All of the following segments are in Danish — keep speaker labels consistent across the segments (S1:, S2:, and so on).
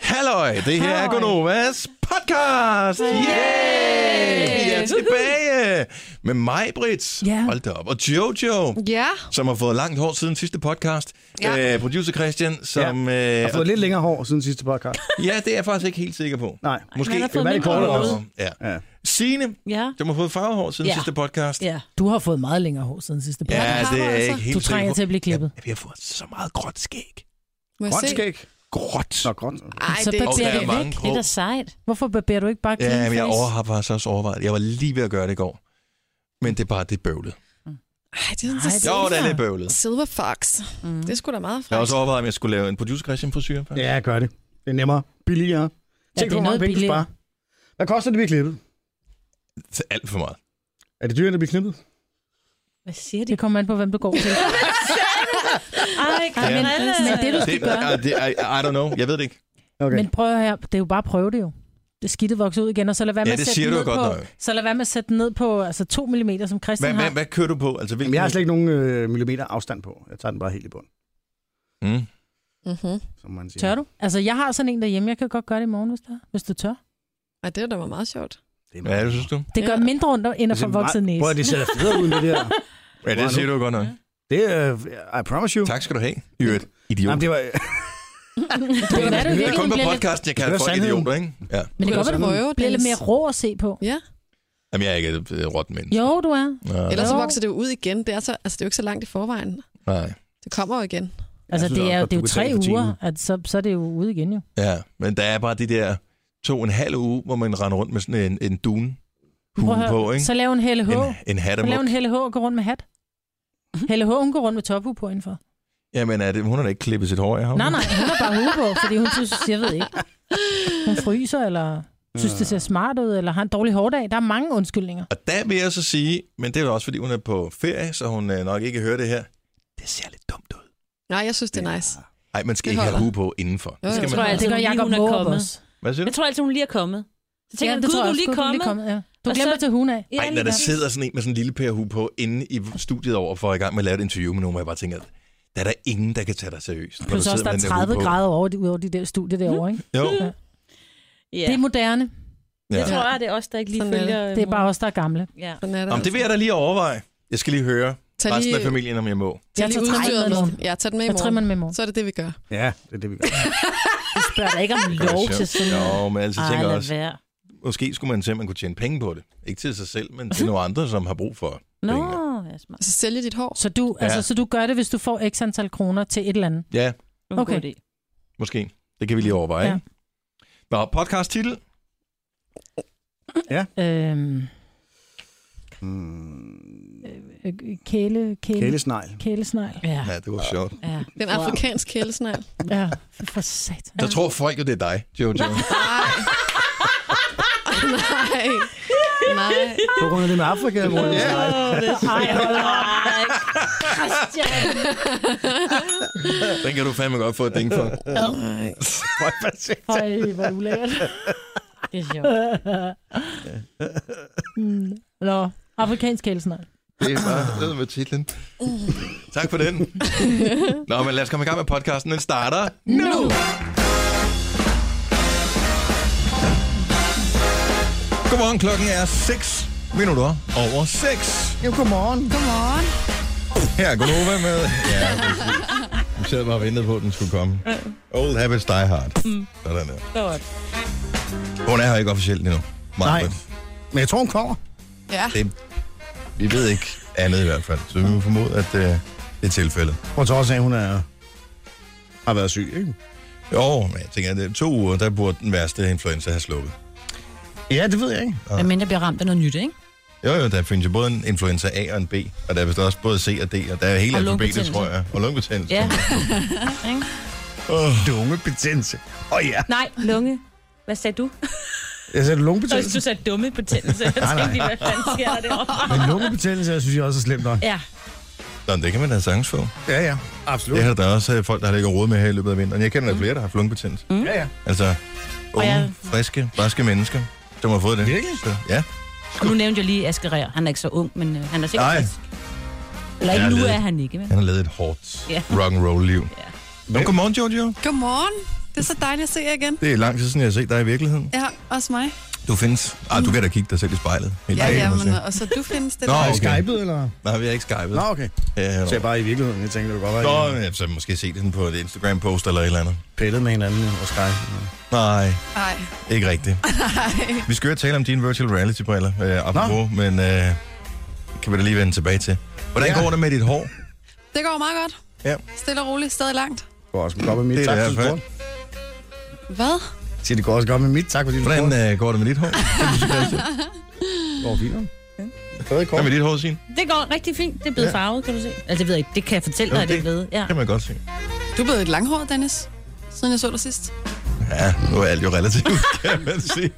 S1: Halløj, det her er
S2: Halløj.
S1: Gonovas podcast! Yay! Vi er tilbage med mig, Brits.
S2: Ja.
S1: Hold da op. Og Jojo,
S3: Ja.
S1: som har fået langt hår siden sidste podcast.
S3: Ja.
S1: Øh, producer Christian, som...
S2: Jeg
S1: Ja.
S2: har fået lidt længere hår siden sidste podcast.
S1: ja, det er jeg faktisk ikke helt sikker på.
S2: Nej.
S1: Måske
S4: Han har fået
S2: være lidt
S4: mindre
S2: kortere
S4: hår.
S2: også.
S1: Ja.
S2: Ja.
S1: Signe,
S4: Ja.
S1: som har fået farvehår siden
S4: Ja.
S1: sidste podcast.
S4: ja.
S5: Du har fået meget længere hår siden sidste
S1: Ja,
S5: podcast.
S1: det er
S3: farver,
S1: jeg
S3: altså?
S1: ikke helt
S5: Du
S1: sikker
S5: trænger
S1: på.
S5: til at blive klippet.
S1: Jamen, vi har fået så meget gråt skæg.
S3: Må jeg
S2: Grønt
S3: se?
S2: skæg.
S1: Gråt.
S2: Nå, grønt.
S3: Ej,
S5: Så
S3: det er
S1: Og
S5: barberer
S1: der
S5: du
S1: er
S5: væk.
S1: mange
S5: Det er
S1: grå.
S5: da sejt. Hvorfor barberer du ikke bare clean
S1: Ja, men jeg
S5: face?
S1: over, har faktisk også overvejet. Jeg var lige ved at gøre det i går. Men det er bare det bøvlet.
S3: Ej, det er
S5: Ej,
S3: sådan
S5: det
S1: Jo,
S3: så
S5: er-
S1: det er lidt bøvlet.
S3: Silver Fox.
S4: Mm.
S3: Det er sgu da meget
S1: Jeg har
S3: flot.
S1: også overvejet, om jeg skulle lave en producer Christian frisyr.
S2: Ja, jeg gør det. Det er nemmere. Billigere.
S5: Ja,
S2: Tænk,
S5: det
S2: hvor
S5: er
S2: mange
S5: noget
S2: penge du
S5: billigere.
S2: sparer. Hvad koster det, vi er klippet?
S1: Det er alt for meget.
S2: Er det dyrere, at blive knippet?
S4: Hvad siger de?
S5: Det kommer an på, hvem du går til.
S4: Ej,
S1: Ja.
S5: men, men det du skal
S1: Det,
S5: gøre...
S1: I, det, I, I don't know. Jeg ved det ikke.
S2: Okay.
S5: Men prøv her, det er jo bare at prøve det jo. Det skidte vokser ud igen, og så lad være med
S1: Ja,
S5: at
S1: det
S5: sætte
S1: siger
S5: den
S1: du
S5: ned
S1: godt
S5: på,
S1: nok.
S5: Så lad være med at sætte den ned på altså 2 mm, som
S1: Hvad,
S5: Christian
S1: hvad,
S5: har.
S1: hvad kører du på? Altså, hvilken...
S2: Jamen, jeg har slet ikke nogen øh, millimeter afstand på. Jeg tager den bare helt i bund,
S1: Mm.
S3: Mhm.
S2: som man siger.
S5: Tør du? Altså, jeg har sådan en derhjemme. Jeg kan godt gøre det i morgen, hvis, der, hvis du tør.
S3: Ej, det er da var meget sjovt.
S2: Det
S1: Ja, det synes du.
S5: Det gør
S3: Ja.
S5: mindre ondt, end at få vokset næse.
S2: Prøv at det ser da federe ud, end det der.
S1: Ja, det siger du godt nok.
S2: Det er... øh, I promise you.
S1: Tak skal du have. I øvrigt. Idiot.
S2: Jamen,
S1: det,
S2: det var... øh,
S5: Det kan være, du
S1: det er
S5: virkelig
S1: kun på
S5: bliver lidt,
S1: podcasten, jeg kalder
S2: Det er
S1: folk
S2: sandheden.
S1: idioter, ikke? Ja.
S5: men det kan godt være, du
S3: prøve,
S5: bliver lidt
S3: Dennis.
S5: mere rå at se på.
S3: Ja,
S1: Jamen, jeg er ikke et øh, råt menneske.
S5: Jo, du er.
S1: Nej.
S3: ellers så
S5: Jo.
S3: vokser det jo ud igen. Det er, så, altså, det er jo ikke så langt i forvejen.
S1: Nej.
S3: Det kommer jo igen.
S5: Altså,
S2: synes
S5: det
S2: også
S5: er, jo,
S2: godt,
S5: det er
S2: du
S5: jo
S2: kan
S5: tre
S2: tage det for
S5: uger,
S2: timen.
S5: at så, så er det jo ude igen jo.
S1: Ja, men der er bare de der to og en halv uge, hvor man render rundt med sådan en, en dune
S5: Prøv
S1: hue
S5: at høre,
S1: på, ikke?
S5: Så lav en Helle H.
S1: En, en hat
S5: Så lav en Helle H og gå rundt med hat.
S4: Mhm.
S5: Helle H, hun går rundt med tophue på indenfor.
S1: Jamen, er det, hun har da ikke klippet sit hår, jeg har
S5: Nej, nej, hun har bare hue på, fordi hun synes, jeg ved ikke. Hun fryser, eller synes, det ser smart ud, eller har en dårlig hårdag. Der er mange undskyldninger.
S1: Og der vil jeg så sige, men det er jo også, fordi hun er på ferie, så hun øh, nok ikke hører det her. Det ser lidt dumt ud.
S3: Nej, jeg synes, det er nice.
S1: Nej, man skal
S3: Det
S1: ikke have
S3: holder.
S1: hue på indenfor.
S3: Jo,
S1: Det skal
S3: jeg
S1: man
S4: tror,
S1: have.
S4: jeg-
S5: Altså, det
S4: Altså,
S5: gør
S4: hun lige-
S5: Jacob
S4: hun er
S5: Måb
S4: kommet.
S5: også.
S1: Hvad siger du?
S4: Jeg tror altid, hun lige er kommet. Så tænker
S5: Ja,
S4: jeg,
S5: det
S4: gud,
S5: tror
S4: du
S5: jeg
S4: er
S5: også.
S4: lige
S5: Gud, du er
S4: kommet.
S5: kommet. Ja. Du
S4: Og
S5: glemmer
S4: så-
S5: til hun af.
S4: Ja,
S1: Ej, når
S4: lige
S1: der
S4: præcis.
S1: sidder sådan en med sådan en lille pærehue på inde i studiet over for i gang med at lave et interview med nogen, hvor jeg bare tænker, der er der ingen, der kan tage dig seriøst. når
S5: Plus
S1: du
S5: også,
S1: sidder
S5: der er
S1: med den hue
S5: 30
S1: på.
S5: grader over, de- ud over de der studier derovre, ikke?
S1: Jo,
S5: Ja.
S4: Mhm. Ja.
S5: Det er moderne.
S4: Det
S1: ja.
S4: tror jeg, det er os, der ikke lige
S3: Sådan er det.
S4: følger. øh,
S5: Det er bare os, der er gamle.
S4: Ja.
S3: Sådan er det.
S1: Om det
S4: altså.
S1: vil jeg da lige overveje. Jeg skal lige høre
S3: Tag
S1: resten af
S3: lige,
S1: familien, om jeg må.
S3: tag
S5: Jeg
S3: lige
S5: tager
S3: udstyret
S5: trimmer
S3: med.
S5: med.
S3: Ja, tag den med i
S5: Jeg trimmer
S3: morgen.
S5: den med i morgen.
S3: Så er det det, vi gør.
S2: Ja, det er det, vi gør.
S4: Du spørger da ikke om lov til sådan noget.
S1: Jo, men altså, jeg
S4: Ej,
S1: tænker
S4: lad
S1: også,
S4: være.
S1: måske skulle man se, om man kunne tjene penge på det. Ikke til sig selv, men til nogle andre, som har brug for
S4: Nå,
S1: penge.
S4: ja, smart.
S3: Så sælge dit hår.
S5: Så du,
S1: Ja.
S5: ja. altså, så du gør det, hvis du får x antal kroner til et eller andet.
S1: Ja,
S4: Det var en
S5: Okay.
S4: god idé.
S1: måske. Det kan vi lige overveje.
S5: Ja.
S1: Ja. Nå, podcast titel.
S5: Øhm,
S2: Mm,
S5: øh, kæle, kæle, kæle.
S2: kælesnegl.
S5: kælesnegl.
S4: Ja,
S1: Ja, det var sjovt.
S4: ja.
S3: Den afrikanske kælesnegl.
S5: Ja, for, for satan.
S1: Så tror folk jo, det er dig, Jojo.
S3: Nej. Nej. Nej.
S2: På grund af det med Afrika, hvor det er snegl.
S4: Åh, det er
S5: Ej, hold op.
S4: Ej, Christian.
S1: Den kan du fandme godt få et ding for.
S3: Nej.
S5: Ej, hvor ulækkert.
S4: Det er sjovt.
S5: Mm. Nå, afrikansk kælesnegl.
S1: Det er bare det med titlen. Tak for den. Nå, men lad os komme i gang med podcasten. Den starter nu. Godmorgen, klokken er 6 minutter over 6.
S2: Jo, godmorgen.
S3: Godmorgen.
S1: Her er Gunova med... Ja, vi sad bare og ventede på, at den skulle komme. Old habits die hard. Sådan der.
S4: Godt.
S1: Hun er her ikke officielt endnu. Maja.
S2: Nej. Men jeg tror, hun kommer.
S3: Ja.
S1: Det, vi ved ikke andet i hvert fald, så vi må formode, at øh, det er tilfældet.
S2: På trods af, at hun er, har været syg, ikke?
S1: Jo, men jeg tænker, at det er to uger, der burde den værste influenza have sluppet.
S2: Ja, det ved jeg ikke.
S4: Men mindre bliver ramt af noget nyt, ikke?
S1: Jo, jo, der findes jo både en influenza A og en B, og der er vist også både C og D, og der er hele
S4: Og
S1: alfabetet,
S4: lungebetændelse.
S1: tror jeg. Og lungebetændelse.
S4: Ja. Ikke?
S2: Lungebetændelse. Åh oh, ja.
S4: Nej, lunge. Hvad sagde du?
S2: Jeg sagde
S4: Så
S2: lungebetændelse.
S4: Altså, du sagde dumme betændelse. Jeg
S2: Nej, nej.
S4: tænkte, lige, hvad fanden sker der derovre?
S2: Men lungebetændelse, jeg synes jeg også er slemt nok.
S4: Ja,
S1: Nå, men det kan man da sagtens få.
S2: Ja, ja. Absolut.
S1: Det har der også øh, folk, der har ligget råd med her i løbet af vinteren. Jeg kender
S4: Mm.
S1: da flere, der har haft lungebetændelse.
S2: Ja, ja.
S1: Altså, unge,
S4: jeg-
S1: friske, raske mennesker, som har fået det.
S2: Virkelig?
S1: Så, ja.
S4: og nu nævnte jeg lige Asger Rær. Han er ikke så ung, men øh, han er sikkert...
S1: Nej.
S4: frisk. Eller ikke
S1: Jeg
S4: nu
S1: led.
S4: er han ikke, men...
S1: Han har levet et hårdt
S4: Ja.
S1: rock'n'roll-liv.
S4: Ja.
S1: Ja. Godmorgen, Jojo.
S3: Godmorgen. Det Det er så dejligt at se jer igen.
S1: Det er lang tid siden, jeg har set dig i virkeligheden.
S3: Ja, også mig.
S1: Du findes... Ah, du kan da kigge dig selv i spejlet. hele
S3: Ja,
S1: dagen,
S3: ja,
S1: må jeg
S3: men
S1: sige.
S3: og så du findes det
S1: Nå,
S2: Har
S3: der.
S2: I
S1: okay.
S2: skypet, eller?
S1: Nej, vi har ikke skypet.
S2: Nå, okay.
S1: Ja,
S2: Så jeg bare i virkeligheden, jeg tænkte, det kunne godt være,
S1: Nå,
S2: at I
S1: men jeg så måske se den på et Instagram-post eller et eller andet.
S2: pillede med hinanden og Skype.
S1: Nej,
S3: Nej,
S1: ikke rigtigt.
S3: nej.
S1: Vi skal jo tale om dine virtual reality-briller, øh, apropos, men øh, kan vi da lige vende tilbage til. Hvordan
S2: Ja.
S1: går det med dit hår?
S3: Det går meget godt.
S1: Ja.
S3: Stille og roligt, stadig langt.
S2: Det går også godt med mit
S1: Det er
S2: tak,
S1: det
S2: for
S1: i hvert fald.
S2: support.
S3: Hvad?
S2: Siger, det går også godt med mit tak, fordi du
S1: Hvordan øh, går det med dit hår?
S2: går fint. Stadig kort.
S1: Hvad med dit hår, Signe?
S4: Det går rigtig fint. Det er blevet
S1: Ja.
S4: ja. farvet, kan du se. Altså, det ved jeg ikke. Det kan jeg fortælle dig,
S1: Jo,
S4: at det er blevet. Ja.
S1: Kan man godt se.
S3: Du er blevet et langhåret, Dennis, siden jeg så dig sidst.
S1: Ja, nu er alt jo relativt, kan man sige.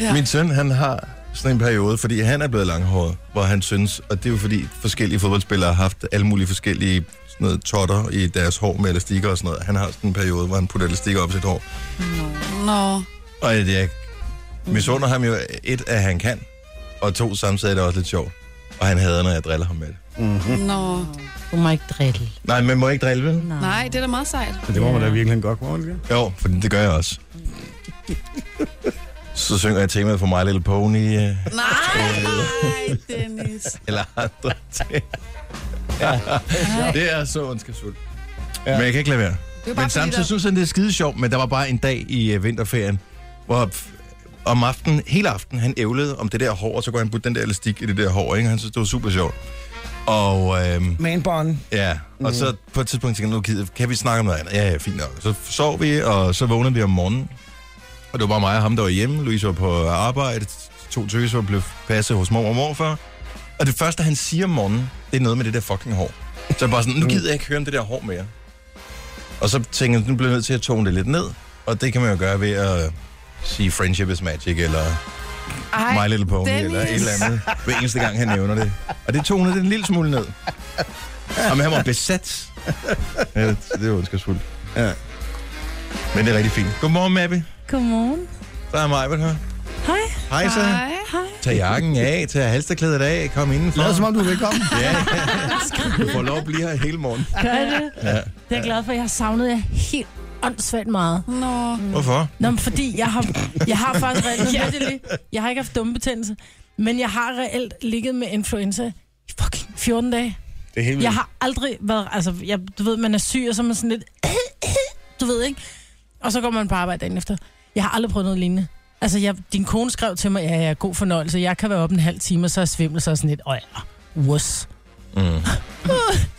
S3: Ja.
S1: Min søn, han har sådan en periode, fordi han er blevet langhåret, hvor han synes, og det er jo fordi forskellige fodboldspillere har haft alle mulige forskellige sådan noget totter i deres hår med elastikker og sådan noget. Han har sådan en periode, hvor han putter elastikker op i sit hår.
S3: Nå,
S1: Og jeg misunder ham jo et, at han kan, og to, samtidig er det også lidt sjovt. Og han hader, når jeg driller ham med det.
S2: Mhm.
S3: nå.
S4: Du må ikke drille.
S1: Nej, man må ikke drille, vel?
S3: Nej, det er da meget sejt.
S2: Men det må man da virkelig godt, må man ikke?
S1: Jo, for det gør jeg også. Så synger jeg temaet for My Little Pony, øh,
S3: Nej, Dennis.
S1: eller andre ting. Ja. Det er så ondskabsfuldt. Ja. Men jeg kan ikke lade være.
S3: Det er
S1: Men samtidig synes han, det er skide sjovt, men der var bare en dag i øh, vinterferien, hvor f- om aftenen, hele aftenen, han ævlede om det der hår, og så går han putte den der elastik i det der hår, ikke? Han synes, det var super sjovt. Og øhm,
S2: Man bond.
S1: ja, og så på et tidspunkt tænkte jeg, nu gider- kan vi snakke om noget andet? Ja, ja, fint nok. Så sov vi, og så vågnede vi om morgenen. Og det var bare mig og ham, der var hjemme. Louise var på arbejde. To tøser blev passet hos mor og morfar. Og det første, han siger om morgenen, det er noget med det der fucking hår. Så jeg bare sådan,
S6: Mm.
S1: nu gider jeg ikke høre om det der hår mere. Og så tænkte jeg, nu bliver jeg nødt til at tone det lidt ned. Og det kan man jo gøre ved at sige friendship is magic, eller My Little Pony,
S3: Dennis.
S1: eller et eller andet. Hver eneste gang, han nævner det. Og det tonede det en lille smule ned. Jamen, han var besat. Ja, det det er ondskabsfuldt.
S2: Ja.
S1: Men det er rigtig fint. Godmorgen, Mabby.
S5: Godmorgen.
S1: Der er mig, hvad her.
S5: Hej.
S1: Hej så.
S3: Hej.
S1: Tag jakken af, tag halsterklædet af, kom indenfor.
S2: Lad som om du er velkommen.
S1: Ja, du får lov at blive her hele morgen.
S5: Gør I det? Ja. Det er jeg glad for. Jeg har savnet jer helt åndssvagt meget.
S3: Nå,
S1: Hvorfor?
S5: Nå, men fordi jeg har, jeg har faktisk reelt... ja. det lige. Jeg har ikke haft dumme betændelse. Men jeg har reelt ligget med influenza i fucking 14 dage.
S2: Det er helt
S5: Jeg har aldrig været... Altså, jeg, du ved, man er syg, og så er man sådan lidt... du ved, ikke? Og så går man på arbejde dagen efter. Jeg har aldrig prøvet noget lignende. Altså, jeg, din kone skrev til mig, ja, ja, god fornøjelse. Jeg kan være op en halv time, og så er jeg svimmel, så er jeg sådan lidt, åh ja, wuss.
S1: Mm.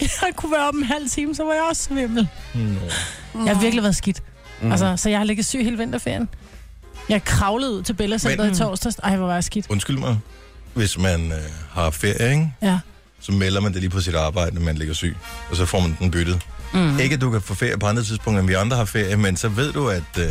S5: Jeg kunne være op en halv time, så var jeg også svimmel.
S1: Nå.
S5: Jeg har virkelig været skidt. Mm. Altså, så jeg har ligget syg hele vinterferien. Jeg kravlede ud til Bella Center
S1: Men-
S5: i torsdags. Ej, hvor var jeg skidt.
S1: Undskyld mig. Hvis man øh, har ferie, ikke?
S5: Ja.
S1: så melder man det lige på sit arbejde, når man ligger syg, og så får man den byttet. Mm. Ikke at du kan få ferie på andre tidspunkter, end vi andre har ferie, men så ved du, at øh,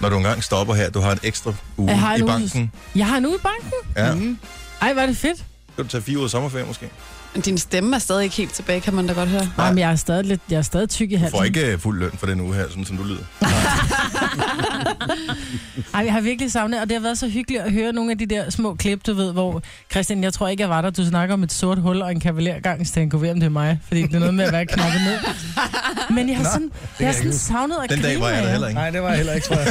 S1: når du engang stopper her, du har en ekstra uge
S5: Jeg har en
S1: i
S5: uge.
S1: banken.
S5: Jeg har nu i banken.
S1: Ja. Mm.
S2: Mm.
S5: Ej, var det fedt.
S1: Kan du tage fire uger sommerferie måske?
S3: men din stemme er stadig ikke helt tilbage, kan man da godt høre.
S5: Nej, men jeg er stadig, lidt, jeg er stadig tyk i
S1: Du får
S5: halsen.
S1: ikke øh, fuld løn for den uge her, sådan som du lyder.
S5: Ej, jeg har virkelig savnet, og det har været så hyggeligt at høre nogle af de der små klip, du ved, hvor... Christian, jeg tror ikke, jeg var der. Du snakker om et sort hul og en kavalergang, så tænker jeg, "Gud, ved, om det er mig, fordi det er noget med at være knappet ned. Men jeg har sådan, jeg har
S2: jeg
S5: sådan
S2: ikke
S5: savnet at
S1: Den
S5: grine
S1: dag var jeg
S5: af
S1: der
S5: jer.
S1: heller ikke.
S2: Nej, det var jeg heller ikke, tror jeg.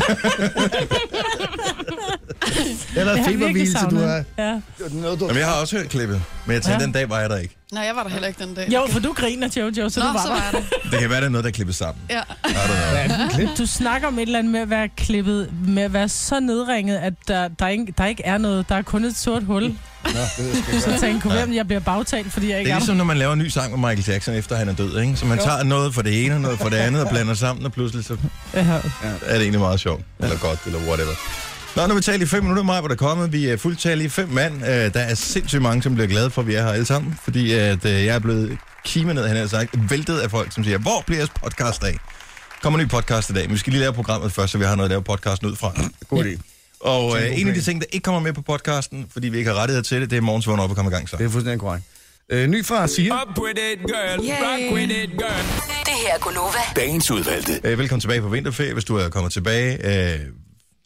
S2: Eller
S5: Jeg har virkelig
S2: feberhvilelse, du
S5: savnet.
S2: har.
S5: Ja.
S2: Noget, du...
S1: Jamen, jeg har også hørt klippet, men jeg tænkte,
S5: Ja.
S1: den dag var jeg der ikke.
S3: Nej, jeg var der heller ikke den dag.
S5: Jo, for du griner, Jojo, så
S3: Nå,
S5: du var
S3: så
S5: der.
S3: var jeg der.
S1: Det kan være, det er noget, der er klippet sammen.
S3: Ja.
S1: I don't know.
S2: Hvad er det, en klip?
S5: Du snakker om et eller andet med at være klippet, med at være så nedringet, at der, der, ikke, der ikke er noget. Der er kun et sort hul.
S2: Nå, det ved jeg sgu
S5: Du
S2: ikke.
S5: så tænker, kunne være, om jeg bliver bagtalt, fordi jeg
S1: Det
S5: ikke
S1: er
S5: er,
S1: ligesom, når man laver en ny sang med Michael Jackson, efter han er død, ikke? Så man tager noget for det ene og noget for det andet og blander sammen, og pludselig så
S5: der. Ja.
S1: er det egentlig meget sjovt. Eller godt, eller whatever. Nå, nu har vi talt i fem minutter, mig, hvor der er kommet. Vi er fuldtallige fem mand. Øh, der er sindssygt mange, som bliver glade for, at vi er her alle sammen. Fordi at, øh, jeg er blevet kimet ned, han har sagt, væltet af folk, som siger, hvor bliver jeres podcast af? Kommer en ny podcast i dag, men vi skal lige lave programmet først, så vi har noget at lave podcasten ud fra.
S2: God idé.
S1: Og
S2: Det er
S1: øh, en
S2: en god
S1: af de
S2: plan. ting,
S1: ting, der ikke kommer med på podcasten, fordi vi ikke har rettighed til det, det er morgens vågen op og komme i gang
S2: Det
S1: så.
S2: er fuldstændig korrekt. Øh, ny fra Sia.
S7: Up with it, girl.
S3: Yay.
S7: Rock with it, girl.
S8: Det her er Gunova.
S7: Dagens udvalgte.
S1: Øh, velkommen tilbage på vinterferie, hvis du er kommet tilbage. Øh,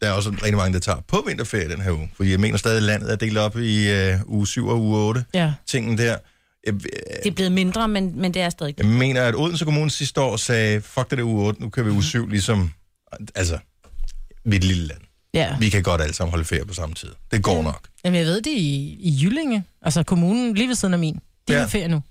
S1: der er også rigtig mange, der tager på vinterferie den her uge, fordi jeg mener stadig, at landet er delt op i øh, uge 7 og uge 8.
S5: ja.
S1: Tingen der. Jeg,
S4: Det er blevet mindre, men, men det er stadig.
S1: jeg mener, at Odense Kommune sidste år sagde, fuck det der uge 8, nu kører vi
S5: Mhm.
S1: uge 7, ligesom, altså, vi er et lille land.
S5: Ja.
S1: Vi kan godt alle sammen holde ferie på samme tid. Det går nok.
S5: Jamen, jeg ved det i, i Jyllinge, altså kommunen lige ved siden af min. De
S1: Ja.
S5: ja. har ferie nu.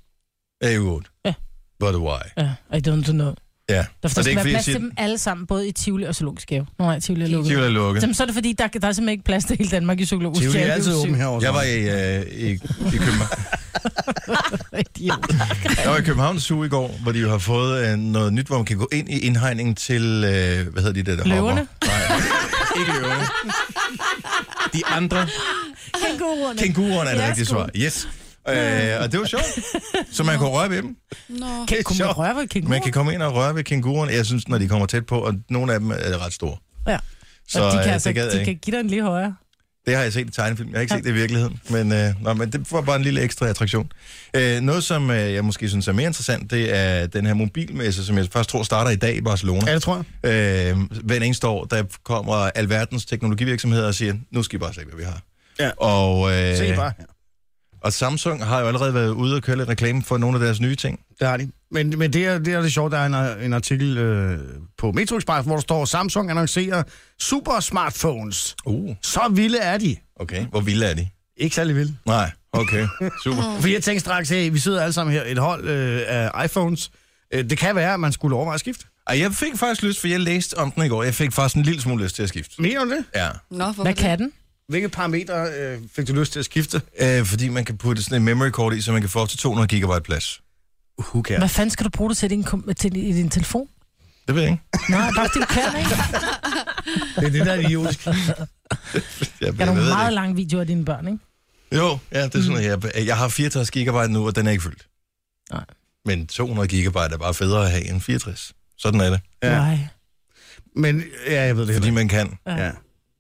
S1: Det er uge 8.
S5: Ja.
S1: But why?
S5: Ja, I don't know.
S1: Ja.
S5: Der,
S1: Og
S5: der
S1: det er
S5: skal
S1: ikke
S5: være
S1: fordi, jeg
S5: plads til
S1: siger,
S5: dem alle sammen, både i Tivoli og Zoologisk Have. Nå nej, Tivoli er lukket.
S1: Tivoli er lukket.
S5: Jamen, så er det fordi, der, der er simpelthen ikke plads til hele Danmark i Zoologisk
S2: Tivoli er altid
S5: jo sygt.
S2: åben herovre.
S1: Jeg var i, øh, i, i København.
S5: Idiot.
S1: Jeg var i Københavns Zoo i går, hvor de jo har fået øh, noget nyt, hvor man kan gå ind i indhegningen til, øh, hvad hedder de der, der
S5: Løverne?
S1: hopper? Nej, ikke løverne. De andre.
S5: Kænguruerne.
S1: Kænguruerne er det
S5: Ja,
S1: rigtige
S5: sgu.
S1: svar. Yes. Øh, og det var sjovt. Så man kunne røre ved dem.
S3: Nå.
S1: Det er
S5: Kunne man
S1: sjovt.
S5: røre ved kænguru?
S1: Man kan komme ind og røre ved kænguruerne. Jeg synes, når de kommer tæt på, og nogle af dem er ret store.
S5: Ja.
S1: Så
S5: og de kan,
S1: øh,
S5: altså,
S1: det gad jeg
S5: de
S1: ikke.
S5: kan give dig en lige højere.
S1: Det har jeg set i tegnefilm. Jeg har ikke set det i virkeligheden. Men, øh, nå, men det var bare en lille ekstra attraktion. Øh, noget, som øh, jeg måske synes er mere interessant, det er den her mobilmesse, som jeg først tror starter i dag i Barcelona.
S2: Ja, det tror jeg.
S1: Øh, hver eneste år, der kommer alverdens teknologivirksomheder og siger, nu skal I bare se, hvad vi har.
S2: Ja.
S1: Og,
S2: Se
S1: øh,
S2: bare her.
S1: og Samsung har jo allerede været ude og køre lidt reklame for nogle af deres nye ting.
S2: Det har de. Men, men det, er, det er det sjovt, der er en, en artikel øh, på Metro Express, hvor der står, Samsung annoncerer super smartphones.
S1: Uh.
S2: Så vilde er de.
S1: Okay, hvor vilde er de?
S2: Ikke særlig vilde.
S1: Nej, okay, super.
S2: For jeg tænkte straks, hey, vi sidder alle sammen her, et hold øh, af iPhones. Øh, det kan være, at man skulle overveje at skifte.
S1: Ej, jeg fik faktisk lyst, for jeg læste om den i går. Jeg fik faktisk en lille smule lyst til at skifte.
S2: Mener du det?
S1: Ja.
S3: Nå, hvorfor
S5: Hvad
S3: det?
S5: kan den?
S2: Hvilke parametre øh, fik du lyst til at skifte?
S1: Øh, fordi man kan putte sådan en memory card i, så man kan få op til 200 gigabyte plads.
S2: Who
S5: Ja.
S2: cares?
S5: Hvad fanden skal du bruge det til, din, kom- til i din telefon?
S1: Det ved jeg ikke.
S5: Nej, bare fordi du kan, ikke?
S2: Det er det, der er idiotisk.
S1: Jeg,
S5: Der er nogle
S1: ved det
S5: meget lange videoer af dine børn, ikke?
S1: ikke. Jo, ja, det er sådan, mm. jeg, jeg har 64 gigabyte nu, og den er ikke fyldt.
S5: Nej.
S1: Men 200 gigabyte er bare federe at have end 64. Sådan er det.
S2: Ja.
S5: Nej.
S2: Men ja, jeg ved det
S1: Fordi
S2: heller
S1: man kan.
S2: ikke. Ja.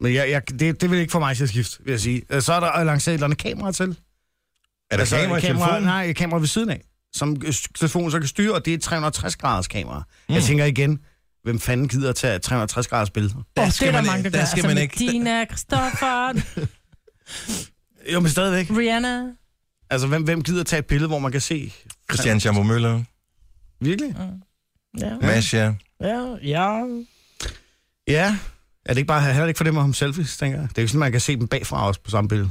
S2: Men jeg, jeg, det, det vil ikke få mig til at skifte, vil jeg sige. Øh, Så er der lanceret et eller andet kamera til.
S1: Er der altså, kamera i telefonen?
S2: Nej, et kamera ved siden af, som øh, telefonen så kan styre, og det er et 360-graders kamera. Mm. Jeg tænker igen, hvem fanden gider at tage 360-graders billeder?
S5: Der, oh,
S1: skal
S5: det er der
S1: man
S5: mange, der,
S1: ikke- der
S5: gør.
S1: skal man
S5: altså,
S1: ikke-
S5: Medina, Christoffer,
S2: Jo, men stadigvæk.
S5: Rihanna.
S2: Altså, hvem, hvem gider at tage et billede, hvor man kan se?
S1: Christian Jambo Møller,
S2: Virkelig?
S5: Mm. Ja,
S1: Masha.
S5: ja, ja.
S2: Ja. Er det ikke bare heller ikke for dem at have selfies, tænker jeg? Det er jo sådan, man kan se dem bagfra også på samme billede.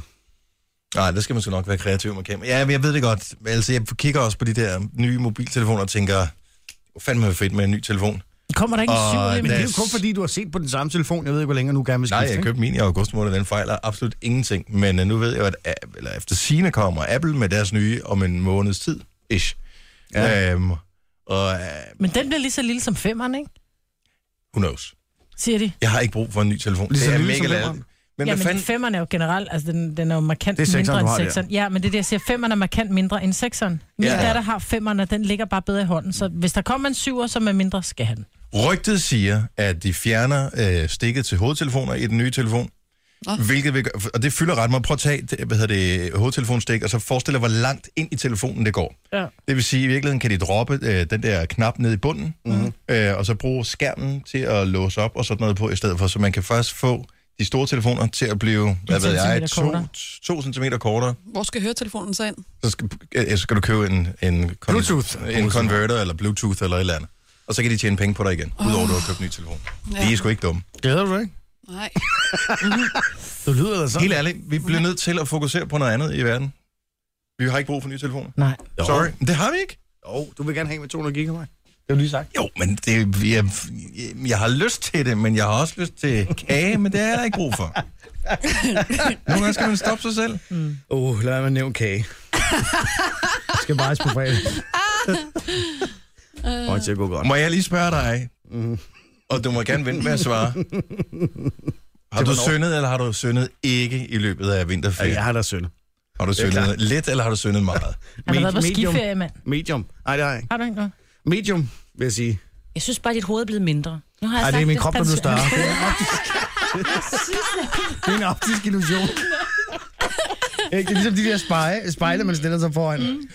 S1: Nej, der skal man så nok være kreativ med kamera. Ja, men jeg ved det godt. Altså, jeg kigger også på de der nye mobiltelefoner og tænker, hvor fanden er det fedt med en ny telefon?
S5: Kommer der ikke en
S1: Og
S5: syv
S2: Men det er
S1: Yes.
S2: jo kun fordi, du har set på den samme telefon. Jeg ved ikke, hvor længe nu gerne vil skifte.
S1: Nej, jeg
S2: ikke?
S1: købte min i august måned, den fejler absolut ingenting. Men øh, nu ved jeg jo, at A- eller efter sine kommer Apple med deres nye om en måneds tid. Ish. Ja. Øhm, og øh,
S5: Men den bliver lige så lille som femmeren, ikke?
S1: who knows.
S5: Siger de.
S1: Jeg har ikke brug for en ny telefon.
S2: Lige så
S1: det er
S2: lille som
S1: mega lavet.
S2: femmeren.
S1: Men
S5: ja,
S1: hvad
S5: men
S1: fanden?
S5: femmeren er jo generelt, altså den, den er jo markant
S2: Det er sekseren,
S5: mindre
S2: du
S5: end
S2: har der.
S5: sekseren. Ja, men det er det, jeg siger, femmeren er markant mindre end sekseren. Min
S1: Ja.
S5: ja. datter har femmeren, og den ligger bare bedre i hånden. Så hvis der kommer en syver, som er mindre, skal han.
S1: Rygtet siger, at de fjerner øh, stikket til hovedtelefoner i den nye telefon.
S3: Nå.
S1: Hvilket vil gøre, og det fylder ret meget. Prøv at tage det- hvad hedder det, hovedtelefonstik, og så forestil dig, hvor langt ind i telefonen det går.
S5: Ja.
S1: Det vil sige, at i virkeligheden kan de droppe øh, den der knap ned i bunden,
S5: Mhm.
S1: mm-hmm. øh, og så bruge skærmen til at låse op og sådan noget på i stedet for, så man kan først få de store telefoner til at blive, hvad ved jeg,
S5: centimeter
S1: to,
S5: kortere.
S1: to centimeter kortere.
S3: Hvor skal høretelefonen så ind?
S1: Så skal, øh, så skal du købe en, en, kon-
S2: Bluetooth.
S1: en converter eller Bluetooth eller et eller andet. Og så kan de tjene penge på dig igen, udover du har købt en ny telefon. Ja.
S3: Ja.
S1: Det er sgu ikke dumme.
S2: Glæder du dig ikke?
S3: Nej. Mhm.
S2: Du lyder da sådan.
S1: Helt ærligt, vi bliver nødt til at fokusere på noget andet i verden. Vi har ikke brug for nye telefoner.
S5: Nej.
S2: Jo.
S1: Sorry, men det har vi ikke.
S2: Jo, du vil gerne hænge med 200 gigabyte. Det har du lige sagt.
S1: Jo, men det, jeg, jeg har lyst til det, men jeg har også lyst til kage, men det er der ikke brug for. Nogle gange skal man stoppe sig selv.
S2: Åh, oh, lad mig nævne kage. Jeg skal bare på fredag. Kommer til at gå godt. Mm.
S1: Må jeg lige spørge dig, og du må gerne vente med at svare. Har du
S2: hvornår?
S1: syndet, eller har du syndet ikke i løbet af vinterferien?
S2: Jeg har da søn.
S1: Har du
S2: Det er
S1: syndet lidt, eller har du syndet meget?
S5: Han har været på
S2: medium.
S5: skiferie, mand.
S2: Medium. Nej, det har jeg ikke.
S5: Har du ikke noget?
S2: Medium, vil jeg sige.
S4: Jeg synes bare, at dit hoved er blevet mindre. Nu har jeg
S2: Nej,
S4: sagt
S2: det er min krop, der blev
S4: Altså,
S2: større. Det er en optisk, det er en optisk illusion. Ikke? Det er ligesom de der spejle, spejle man stiller sig foran.
S1: Mm.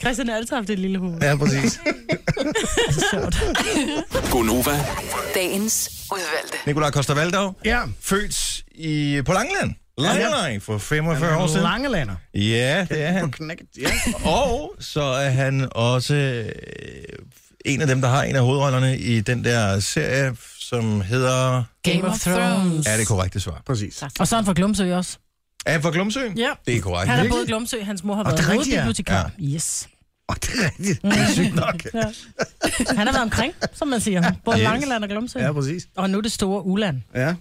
S5: Christian har altid haft et lille hoved.
S2: Ja, præcis.
S7: Gonova.
S8: Dagens udvalgte.
S1: Nikolaj Koster-Valdau,
S2: Ja,
S1: født i, på Langeland. Langelang for 45 år siden.
S2: Langelander.
S1: Ja, det er
S2: På
S1: han.
S2: knækket, ja.
S1: Og så er han også øh, en af dem, der har en af hovedrollerne i den der serie, som hedder...
S5: Game of Thrones.
S1: Er det korrekte svar?
S2: Præcis.
S5: Og så er han fra Glumsø også.
S1: Er han fra Glumsø?
S5: Ja.
S1: Det er korrekt.
S5: Han er
S2: Virkelig?
S5: både i Glumsø, hans mor har
S2: det
S5: været
S2: er rigtigt, ja.
S5: hovedbibliotekar. Ja. Yes.
S2: Og det er rigtigt. Det er sygt nok.
S5: Ja. Han har været omkring, som man siger. Både
S1: Yes.
S5: yes. Langeland og Glumsø.
S2: Ja, præcis.
S5: Og nu det store Uland.
S2: Ja.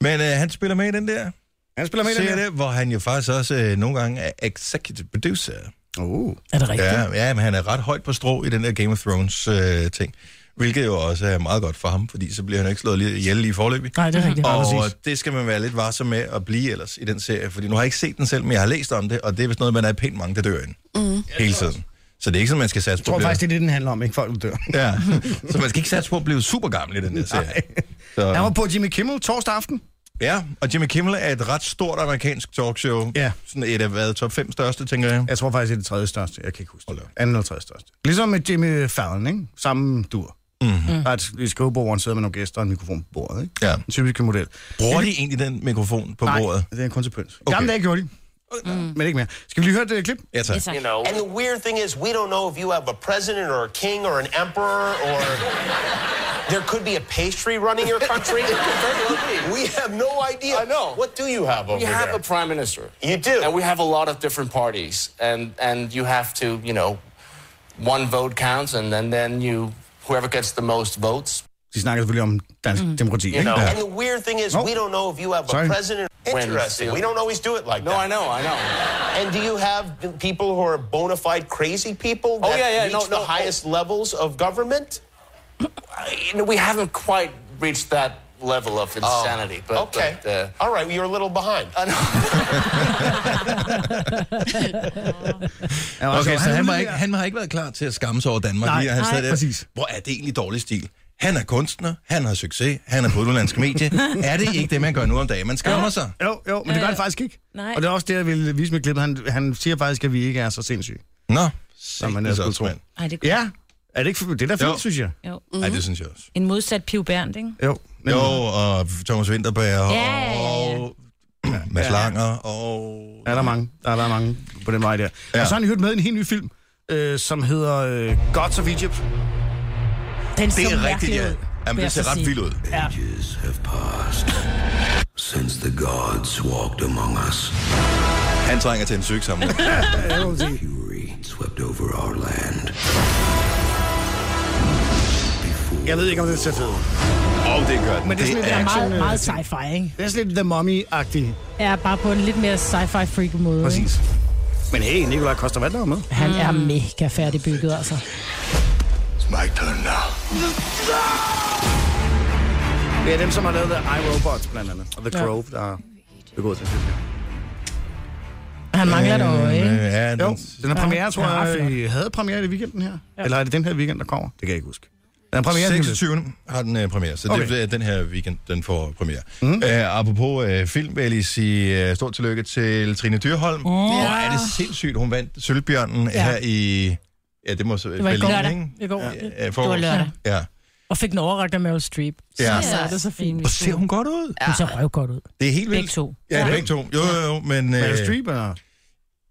S1: Men øh, han spiller med i den der
S2: Han spiller med i den
S1: serie,
S2: her.
S1: der, hvor han jo faktisk også øh, nogle gange er executive producer.
S2: Oh.
S5: Er det rigtigt?
S1: Ja, ja, men han er ret højt på strå i den der Game of Thrones-ting. Øh, ting. hvilket jo også er meget godt for ham, fordi så bliver han ikke slået lige- ihjel lige forløbig.
S5: Nej, det er rigtigt.
S1: Og det skal man være lidt varsom med at blive ellers i den serie, fordi nu har jeg ikke set den selv, men jeg har læst om det, og det er vist noget, man er pænt mange, der dør inden. Mm. Hele tiden. Så det er ikke sådan, man skal satse
S2: Jeg tror
S1: på at
S2: faktisk,
S1: blive...
S2: det er det, den handler om, ikke folk, der dør.
S1: Ja. Så man skal ikke satse på at blive super gammel i den der serie.
S2: Han
S1: Så,
S2: var på Jimmy Kimmel torsdag aften.
S1: ja, og Jimmy Kimmel er et ret stort amerikansk talkshow.
S2: Ja.
S1: Sådan et af hvad, top 5 største, tænker jeg.
S2: Jeg tror faktisk, det er det tredje største. Jeg kan ikke huske
S1: Hold
S2: det.
S1: da op.
S2: Anden eller tredje største. Ligesom med Jimmy Fallon, ikke? Samme dur. Mm-hmm. Der er et, et skrivebord, hvor han sidder med nogle gæster og en mikrofon på bordet, ikke?
S1: Ja.
S2: En typisk model.
S1: Bruger de egentlig den mikrofon på
S2: Nej,
S1: bordet?
S2: det er kun til pynt. Okay.
S1: Okay.
S2: Gamle dage gjorde de. Men ikke mere. Skal vi lige høre det klip?
S1: Ja, tak.
S4: tak.
S8: You know.
S9: And the weird thing is, we don't know if you have a president or a king or an emperor or there could be a pastry running your country. we have no idea.
S8: I know.
S9: What do you have over
S8: You have
S9: there?
S8: a prime minister.
S9: You do.
S8: And we have a lot of different parties. And and you have to, you know, one vote counts and then, then you whoever gets the most votes
S2: De snakker selvfølgelig om dansk mm. demokrati, ikke?
S8: You know.
S9: and the weird thing is,
S2: Oh.
S9: we don't know if you have
S2: Sorry.
S9: a president.
S8: Wins.
S9: Interesting. We don't always do it like
S8: No,
S9: that.
S8: I know, I know.
S9: And do you have people who are bona fide crazy people
S8: Oh,
S9: that
S8: yeah, yeah,
S9: reach
S8: no,
S9: the
S8: no, oh.
S9: highest levels of government?
S8: You know, we haven't quite reached that level of insanity, but
S9: Oh, okay.
S8: but, uh,
S9: All right, well, you're a little behind.
S2: Ja, og
S1: Okay, så han var,
S2: udleverer-
S1: ikke, han har ikke været klar til at skamme sig over Danmark.
S2: Nej,
S1: lige, og han
S2: nej,
S1: sad der,
S2: præcis.
S1: Hvor er det egentlig dårlig stil? Han er kunstner, han har succes, han er på udenlandske medie. er det ikke det, man gør nu om dagen? Man skammer sig.
S2: Jo, jo, men det gør han faktisk ikke.
S4: Nej.
S2: Og det er også det, jeg ville vise med klippet. Han, han siger faktisk, at vi ikke er så sindssyge.
S1: Nå,
S2: Som man ellers skulle tro.
S1: mand.
S4: Ej, det er
S2: Ja, er det ikke for, det er da
S1: Jo. Mm-hmm.
S2: fint, synes jeg.
S4: jo.
S1: Ej, det synes jeg også.
S4: En modsat Piv Berndt, ikke?
S2: Jo, men,
S1: Jo, og Thomas Winterberg og
S4: Ja, ja, ja.
S1: Mads Langer og...
S2: er der mange. Der er der mange på den vej der.
S1: Ja.
S2: Ja. Og så har han hørt med i en helt ny film, øh, som hedder øh, Gods of Egypt.
S5: Den
S1: Det
S5: så
S1: er rigtigt,
S5: mærkelig
S1: ja.
S5: ud, vil
S1: Jamen,
S5: jeg
S1: det ser
S5: så
S1: ret
S5: sige.
S1: vildt ud.
S10: Ages have passed since the gods walked among us.
S1: Han trænger til en syg sammen.
S10: Fury swept over our land.
S2: Jeg ved ikke, om det ser fedt ud.
S1: Og det gør den.
S2: Men det er sådan lidt,
S5: Det er
S2: action,
S5: meget,
S2: øh,
S5: meget sci-fi, ikke?
S2: Det er sådan lidt The Mummy-agtigt.
S5: Er bare på en lidt mere sci-fi freak måde. ikke?
S2: Præcis. Men hey, Nikolaj Koster, hvad der er med?
S5: Han er
S4: Mm.
S5: mega færdigbygget, altså.
S10: It's my turn now.
S2: Det er dem, som har lavet The iRobot, blandt andet. Og The Crow, der har begået den film. her.
S5: Han mangler et øje, ikke?
S1: Øh, Ja,
S2: Jo,
S1: den,
S2: den er
S5: Ja,
S2: premiere, tror
S5: den er ret
S2: jeg. I havde premiere i weekenden her. Eller er det den her weekend, der kommer? Det kan jeg ikke huske. Den er premiere den her-
S1: 26. har den øh, premiere, så okay. det
S2: Okay.
S1: er den her weekend, den får premiere. Mm. Øh, apropos øh, film, vil jeg lige sige øh, stort tillykke til Trine Dyrholm. Mm. Hvor er det sindssygt, hun vandt Sølvbjørnen ja.
S5: Ja.
S1: her i... Ja, det må så
S5: Det var i
S1: Berlin,
S5: går.
S1: ikke?
S5: I går.
S1: Ja, for,
S4: Det var lørdag.
S1: øh, Ja.
S5: Og fik den overragt af Meryl Streep.
S1: Ja.
S5: Så er det så fint.
S1: Og ser hun godt ud?
S5: Hun ser røv godt ud.
S1: Det er helt vildt.
S4: Begge to.
S1: Ja, begge to. Jo, jo, jo. Men,
S2: Meryl
S1: øh,
S2: Streep, eller?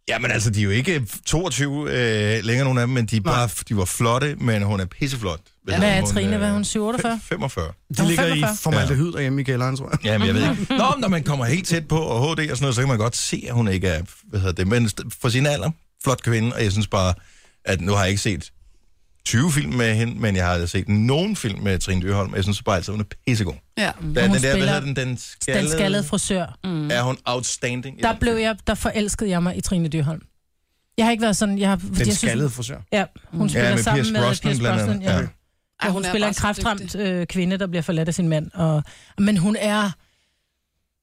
S1: ja, men altså, de er jo ikke 22 øh, længere, nogen af dem, men de, er bare, de var flotte, men hun er pisseflot. øh,
S5: Hvad er Trine? Hvad er hun? 47?
S1: 45.
S2: De ligger i
S5: 45.
S2: formaldehyd derhjemme i kælderen, tror jeg.
S1: Ja, men jeg ved ikke. Nå, men når man kommer helt tæt på og HD og sådan noget, så kan man godt se, at hun ikke er, hvad hedder det, men st- for sin alder, flot kvinde, og jeg synes bare, at nu har jeg ikke set 20 film med hende, men jeg har set nogen film med Trine Dyrholm, og jeg synes bare altid, hun er pissegod.
S3: Ja.
S1: Der, er
S5: Mm. Hun
S1: den der, hvad
S5: spiller
S1: hedder den, den
S5: Den
S1: skaldede,
S5: skaldede frisør.
S4: Mm.
S1: er hun outstanding. i
S5: Der
S1: den
S5: blev
S1: film.
S5: jeg, der forelskede jeg mig i Trine Dyrholm. Jeg har ikke været sådan, jeg har... fordi
S2: Den
S5: jeg synes-
S2: skaldede frisør.
S5: Ja, hun spiller
S1: Mm. med
S5: sammen
S1: Pierce
S5: med
S1: Brosnan
S5: Pierce
S1: blandt
S5: Brosnan.
S1: andet.
S5: Ja.
S1: Ja.
S5: Ja.
S3: Ej,
S5: Og hun, hun spiller en
S3: bare så
S5: kraftramt
S3: dygtig.
S5: øh, kvinde, der bliver forladt af sin mand. Og, men hun er...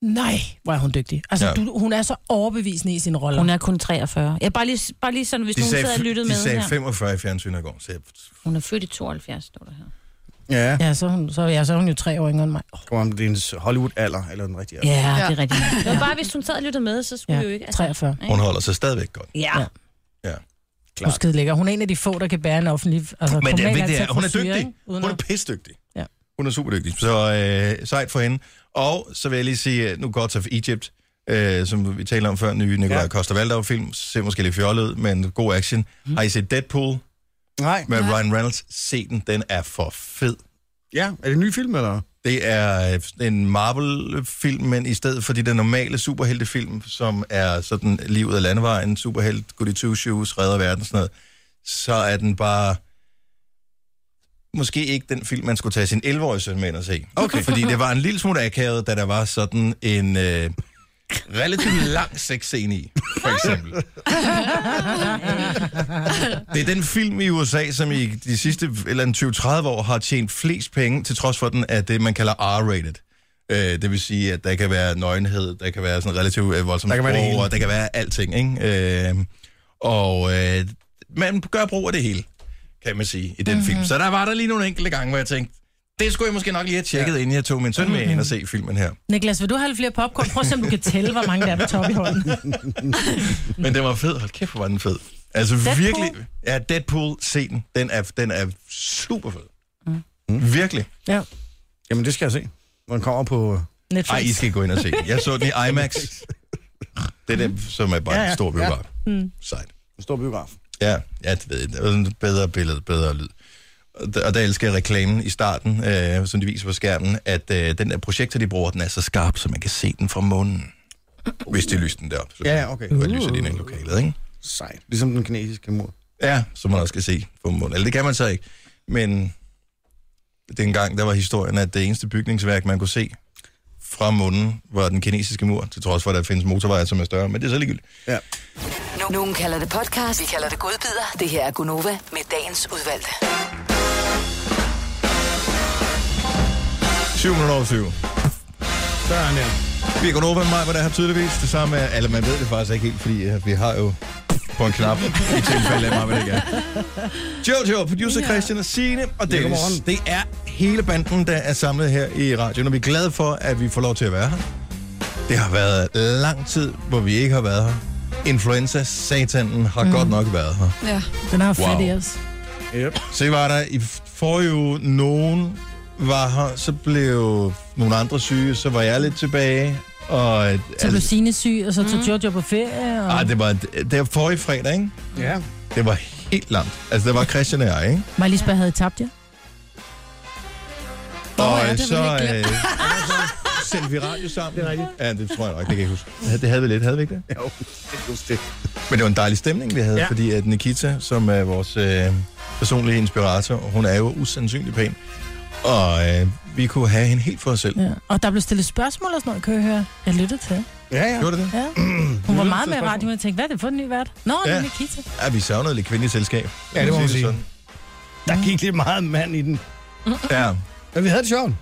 S5: Nej, hvor er hun dygtig. Altså,
S1: Ja.
S5: ja. du, hun er så overbevisende i sin rolle.
S4: Hun er kun 43. Ja, bare lige, bare lige sådan, hvis
S1: De
S4: nogen
S1: sagde,
S4: sad og lyttede
S1: de
S4: med
S1: sagde
S4: her.
S1: 45 i fjernsynet i går, så jeg,
S4: Hun er født i 72, står der her.
S2: Ja.
S5: Ja, så er hun, så, ja, så er hun jo tre år yngre end mig. Oh,
S2: Kom om det er ens Hollywood-alder, eller den rigtige alder.
S4: Ja, ja. det er rigtigt. Det var bare, hvis hun sad og lyttede med, så skulle
S5: ja,
S4: vi jo ikke... altså-
S5: 43.
S1: hun holder sig stadigvæk godt.
S4: Ja.
S5: Ja.
S1: Ja.
S5: Hun er skide lækker. Hun er en af de få, der kan bære en offentlig... Altså,
S1: Men øh, det
S5: normal
S1: er vigtigt,
S5: ansat
S1: at hun er
S5: frisyre,
S1: dygtig.
S5: ikke? Uden
S1: Hun er
S5: at-
S1: pisdygtig.
S5: Ja.
S1: Hun er super dygtig. Så øh, sejt for hende. Og så vil jeg lige sige, øh, nu Gods of Egypt, øh, øh, som vi talte om før, nye Nikolaj ja. Costa Valdau film, ser måske lidt fjollet ud, men god action. Mm. Har I set Deadpool
S2: Nej.
S1: med ja. Ryan Reynolds? Se den, den er for fed.
S2: Ja, er det en ny film, eller?
S1: Det er øh, en Marvel-film, men i stedet for de der normale superheltefilm, som er sådan livet af landevejen, superhelt, goody two shoes, redder verden, sådan noget, så er den bare måske ikke den film, man skulle tage sin 11-årige søn med ind og se. Okay. Fordi det var en lille smule akavet, da der var sådan en øh, relativt lang sexscene i, for eksempel. Det er den film i USA, som i de sidste eller en 20-30 år har tjent flest penge, til trods for den er det, man kalder R-rated. Øh, det vil sige, at der kan være nøgenhed, der kan være sådan relativt øh, voldsomt
S2: Der kan være det
S1: sprog,
S2: hele.
S1: og der kan være alting, ikke? Øh, og øh, man gør brug af det hele, kan man sige, i den mm-hmm. film. Så der var der lige nogle enkelte gange, hvor jeg tænkte, det skulle jeg måske nok lige have tjekket, ja. inden jeg tog min søn
S2: Mhm.
S1: med ind og se filmen her.
S5: Niklas, vil du have lidt flere popcorn? Prøv at se, om du kan tælle, hvor mange der er på top i hånden.
S1: Men den var fed. Hold kæft, hvor var den fed. Altså Deadpool. virkelig. Ja, Deadpool, se den. Den er, den er super fed. Mm. Virkelig.
S5: Ja,
S2: Jamen, det skal jeg se. Når den kommer på... øh,
S5: Netflix.
S1: Ej, I skal gå ind og se den. Jeg så den i IMAX. Det er den, som er bare ja,
S2: Ja,
S1: ja.
S2: ja.
S1: en stor biograf. Ja. Mm. Sejt.
S2: En stor biograf.
S1: Ja, ja, det ved jeg. Det var sådan et Bedre billede, bedre lyd. Og der, og der elsker jeg reklamen i starten, øh, som de viser på skærmen, at øh, den der projektor, de bruger, den er så skarp, så man kan se den fra månen. Hvis de lyser den derop. Så
S2: Ja, ja, okay.
S1: Og lyser de ind i lokalet, ikke?
S2: Uh. Sejt. Ligesom den kinesiske mur.
S1: Ja, som man også kan se på munden. Eller det kan man så ikke. Men dengang, der var historien, at det eneste bygningsværk, man kunne se fra munden, var den kinesiske mur, til trods for, at der findes motorveje, som er større. Men det er så ligegyldigt.
S2: Ja.
S11: Nogen kalder det podcast, vi kalder det godbider. Det her er Gunova med dagens udvalgte.
S1: 7 minutter over 7.
S2: Så er han der.
S1: Vi er gået over med mig, hvor der har tydeligvis det samme er, eller man ved det faktisk ikke helt, fordi øh, vi har jo på en knap i tilfælde af mig, hvad det ikke er. Jojo, producer Christian og Signe og Dennis.
S2: godmorgen.
S1: Det er hele banden, der er samlet her i radioen, og vi er glade for, at vi får lov til at være her. Det har været lang tid, hvor vi ikke har været her. Influenza, satanen, har mm. godt nok været her.
S3: Ja.
S5: den har fat
S1: Wow.
S5: i os.
S2: Yep.
S1: Så I var der i forrige uge, nogen var her, så blev nogle andre syge, så var jeg lidt tilbage. Og, øh, altså-
S5: Så blev Signe syg, og så
S4: Mm.
S5: tog Jojo på ferie. Og...
S1: Ej, det var, det var forrige fredag, ikke?
S2: Ja.
S1: Det var helt langt. Altså, det var Christian og jeg, ikke?
S5: Maja Lisbeth havde I tabt jer.
S1: og
S3: ja,
S1: øh,
S3: det havde vi
S1: øh, så sendte vi radio sammen. Det er rigtigt. Ja, det tror jeg nok, det kan jeg ikke huske. Ja, Det havde vi lidt, havde vi ikke det?
S2: Jo, det er just det.
S1: Men det var en dejlig stemning, vi havde, ja.
S2: Ja.
S1: fordi at Nikita, som er vores øh, personlige inspirator, hun er jo usandsynlig pæn. Og øh, vi kunne have hende helt for os selv. Ja.
S5: Ja. Og der blev stillet spørgsmål og sådan noget, kan jeg høre. Jeg lyttede til.
S2: Ja, ja.
S1: Gjorde det det?
S5: Ja. Hun
S2: lyttede til
S5: var meget med i
S2: spørgsmål.
S5: radioen, og jeg tænkte, hvad er det for en ny vært? Nå, det
S1: Ja.
S5: er Nikita.
S1: Ja, vi savnede lidt kvindeligt selskab.
S2: Ja, det må man
S1: Sige
S2: sige. Der gik lidt meget mand i den.
S1: sådan. Ja.
S2: Men vi havde det sjovt.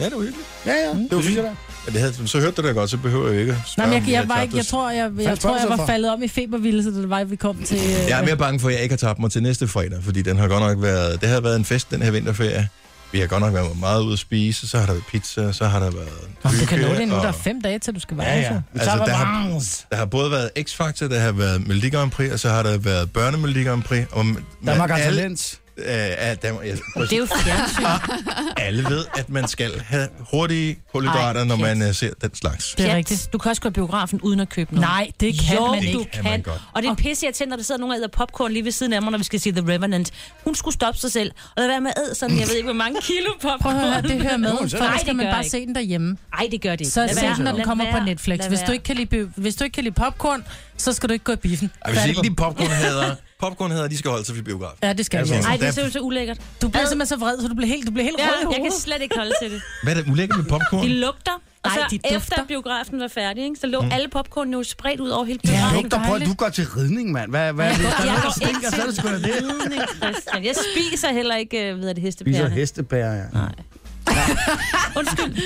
S1: Ja, det var hyggeligt. Mm.
S2: Ja, ja. Det,
S1: var
S2: synes jeg
S1: fint.
S2: da.
S1: Ja, det havde, så hørte du det godt, så behøver jeg ikke at
S5: Nej,
S1: spørge,
S5: men
S1: om
S5: jeg,
S1: vi
S5: jeg,
S1: havde
S5: var
S1: tabt
S5: ikke, jeg
S1: os.
S5: tror, jeg, jeg,
S2: Fandt
S5: tror, jeg var
S2: spørgsmål for.
S5: faldet om i febervilde, så det var, vi kom til... øh,
S1: Jeg er mere bange for, at jeg ikke har tabt mig til næste fredag, fordi den har godt nok været, det har været en fest den her vinterferie. Vi har godt nok været meget ude at spise, så har der været pizza, så har der været
S5: Nå, du kan nå det
S1: hygge,
S5: endnu. Der
S1: og-
S5: er fem dage, til du skal være
S2: Ja,
S5: her,
S2: ja.
S5: så.
S2: Vi
S1: Altså,
S2: tager
S1: der har-
S2: revanche.
S1: Der har både været X-Factor, der har været Melodi Grand Prix, og så har der været Børnemelodi Grand Prix. Og men-
S2: Danmark har
S1: alle-
S2: talent.
S1: Øh, ja, Danmark, ja,
S4: Det er jo fjernsyn.
S1: alle ved, at man skal have hurtige kulhydrater,
S4: Ej,
S1: når
S4: pjat.
S1: man uh, ser den slags.
S5: Det er
S4: Pjat.
S5: rigtigt.
S4: Du kan også gå i biografen uden at købe noget.
S5: Nej, det kan
S4: jo,
S5: man
S4: du
S5: ikke.
S1: Det kan
S4: kan.
S1: man godt.
S4: Og det er pisse irriterende, når der sidder nogen og æder popcorn lige ved siden af mig, når vi skal se The Revenant. Hun skulle stoppe sig selv. Og lade være med at æde sådan, jeg ved ikke, hvor mange kilo
S5: Prøv
S4: popcorn.
S5: at høre, det hører med, for
S4: Nej,
S5: ellers
S4: det
S5: skal man
S4: gør
S5: bare
S4: jeg
S5: se den derhjemme.
S4: Ej, det gør det ikke.
S5: Så
S4: Lad
S5: se
S4: være.
S5: den, når den
S4: Lad
S5: kommer på
S4: være.
S5: Netflix.
S4: Lad
S5: Hvis du,
S4: være.
S5: ikke kan lide, bi- hvis du ikke kan lide popcorn, så skal du ikke gå i biffen.
S1: Ej, hvis
S5: Færdig
S1: ikke
S5: på.
S1: de popcornhader, popcornhader, de skal holde sig for biografen.
S5: Ja, det skal jeg
S1: Altså,
S5: ikke.
S4: Ej,
S1: Der-
S4: det ser ud så ulækkert.
S5: Du bliver
S4: Ad.
S5: simpelthen så vred, så du bliver helt, du bliver helt
S4: Ja,
S5: rød i
S4: jeg kan
S5: hovedet.
S4: slet ikke holde til det.
S1: Hvad er det ulækkert med popcorn?
S4: De lugter. Og
S5: Ej,
S4: så
S5: de dufter.
S4: efter biografen var færdig, ikke? så lå alle popcorn jo spredt ud over hele
S2: Mm. Ja,
S4: biografen.
S2: lugter på, at du går til ridning, mand. Hvad, hvad er det?
S4: Jeg
S2: Der
S4: går
S2: stinker,
S4: ikke
S2: så er det sgu da det.
S4: Ridning, Christian. Jeg spiser heller ikke, øh, ved jeg det,
S2: Spiser
S4: hestepærerne.
S2: hestepærer, ja.
S4: Undskyld.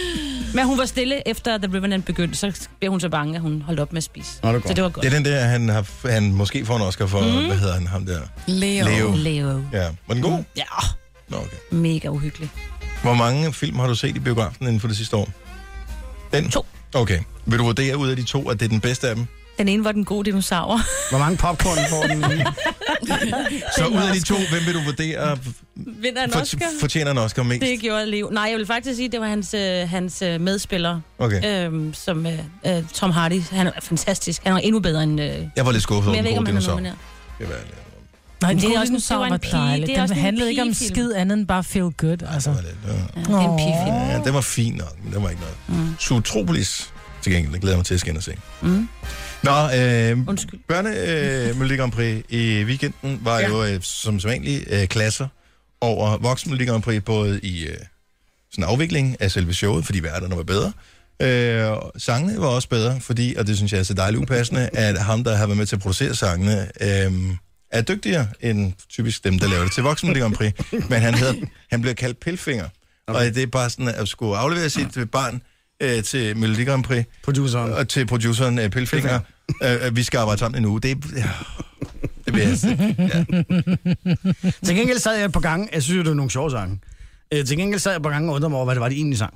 S4: Men hun var stille efter The Revenant begyndte, så blev hun så bange, at hun holdt op med at spise.
S2: Nå, det er godt.
S4: så det var godt.
S1: Det
S4: Mhm.
S1: er den der, han, har, han måske får en Oscar for, mm. hvad hedder han, ham der?
S3: Leo.
S1: Leo.
S4: Leo.
S1: Ja, var den god?
S4: Ja,
S1: Nå, okay.
S4: mega uhyggelig.
S1: Hvor mange film har du set i biografen inden for det sidste år? Den?
S4: To.
S1: Okay. Vil du vurdere ud af de to, at det er den bedste af dem?
S4: Den ene var den gode dinosaur.
S2: Hvor mange popcorn får den?
S1: Så ud af de to, hvem vil du vurdere
S4: Vinder en
S1: for,
S4: Oscar?
S1: fortjener en Oscar mest?
S4: Det gjorde Leo. Nej, jeg vil faktisk sige, at det var hans, øh, hans øh, medspiller,
S1: Okay.
S4: øhm, som øh, øh, Tom Hardy. Han er fantastisk. Han er endnu bedre end... Øh, men
S1: Jeg var lidt skuffet over
S4: jeg
S1: den
S4: ved ikke, om
S1: gode
S4: han er
S1: dinosaur.
S4: nomineret.
S1: Det var jeg lidt.
S5: Nej,
S4: Men
S5: det,
S4: det er
S5: det,
S4: også en-
S5: også,
S4: det var
S5: det
S4: en
S5: var
S4: pige.
S5: dejligt.
S4: Det er
S5: Den
S4: også en
S5: handlede ikke om
S4: pigefilm.
S5: skid andet end bare feel good. Altså.
S4: Ja, det er en pigefilm.
S1: Ja, den var fin nok, men den var ikke noget. Mm. Zootropolis, til gengæld, den glæder jeg mig til at skal ind og se.
S4: Mm.
S1: Nå, øh,
S4: Undskyld.
S1: børne øh, Melodi Grand Prix i weekenden var ja. jo øh, som sædvanligt øh, klasser over voksen Melodi Grand Prix, både i øh, sådan afvikling af selve showet, fordi værterne var bedre. Øh, og sangene var også bedre, fordi, og det synes jeg er så dejligt upassende, at ham, der har været med til at producere sangene, øh, er dygtigere end typisk dem, der laver det til voksen Melodi Grand Prix. Men han, hedder, han bliver kaldt Pilfinger. Okay. Og det er bare sådan at skulle aflevere sit øh, barn øh, til Melodi Grand Prix.
S2: Produceren.
S1: Og til produceren øh, Pilfinger. Øh, øh, vi skal arbejde sammen en uge. Det, er- ja, det bliver jeg- ja.
S2: Til gengæld sad jeg på gange, jeg synes jo, det var nogle sjove sange. Øh, til gengæld sad jeg på gange og undrede mig over, hvad det var, de egentlig sang.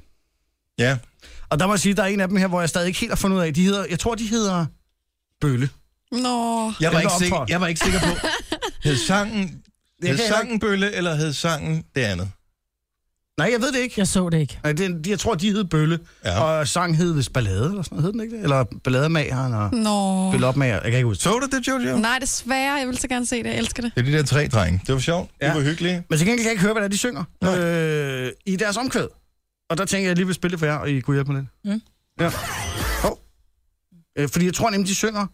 S1: ja.
S2: Og der må jeg sige, der er en af dem her, hvor jeg stadig ikke helt har fundet ud af. De hedder, jeg tror, de hedder Bølle.
S3: Nå,
S1: Jeg, var
S2: Den
S1: ikke
S2: var
S1: sikker,
S2: optrådt.
S1: jeg var ikke sikker på, hed øh, sangen,
S2: kan
S1: hed
S2: jeg
S1: sangen Bølle, eller hed sangen det andet?
S2: Nej, jeg ved det ikke.
S5: Jeg så det ikke.
S2: Nej, det, jeg tror, de hed Bølle.
S1: Ja.
S2: Ja. Og sang hed vist Ballade, eller sådan noget, hed den ikke det? Eller Ballademageren og
S3: nå.
S2: Bølleopmager. Jeg kan ikke huske.
S1: Så du det, Jojo?
S3: Nej, desværre. Jeg vil så gerne se det. Jeg elsker det.
S1: Det er de der tre drenge. Det var sjovt. Ja.
S2: Ja.
S1: Det var hyggeligt.
S2: Men til gengæld kan jeg ikke høre, hvad det er, de synger øh, i deres omkvæd. Og der tænker jeg, at jeg lige vil spille det for jer, og I kunne hjælpe mig lidt.
S5: Mm.
S2: Ja. Oh. Øh, fordi jeg tror nemlig, de synger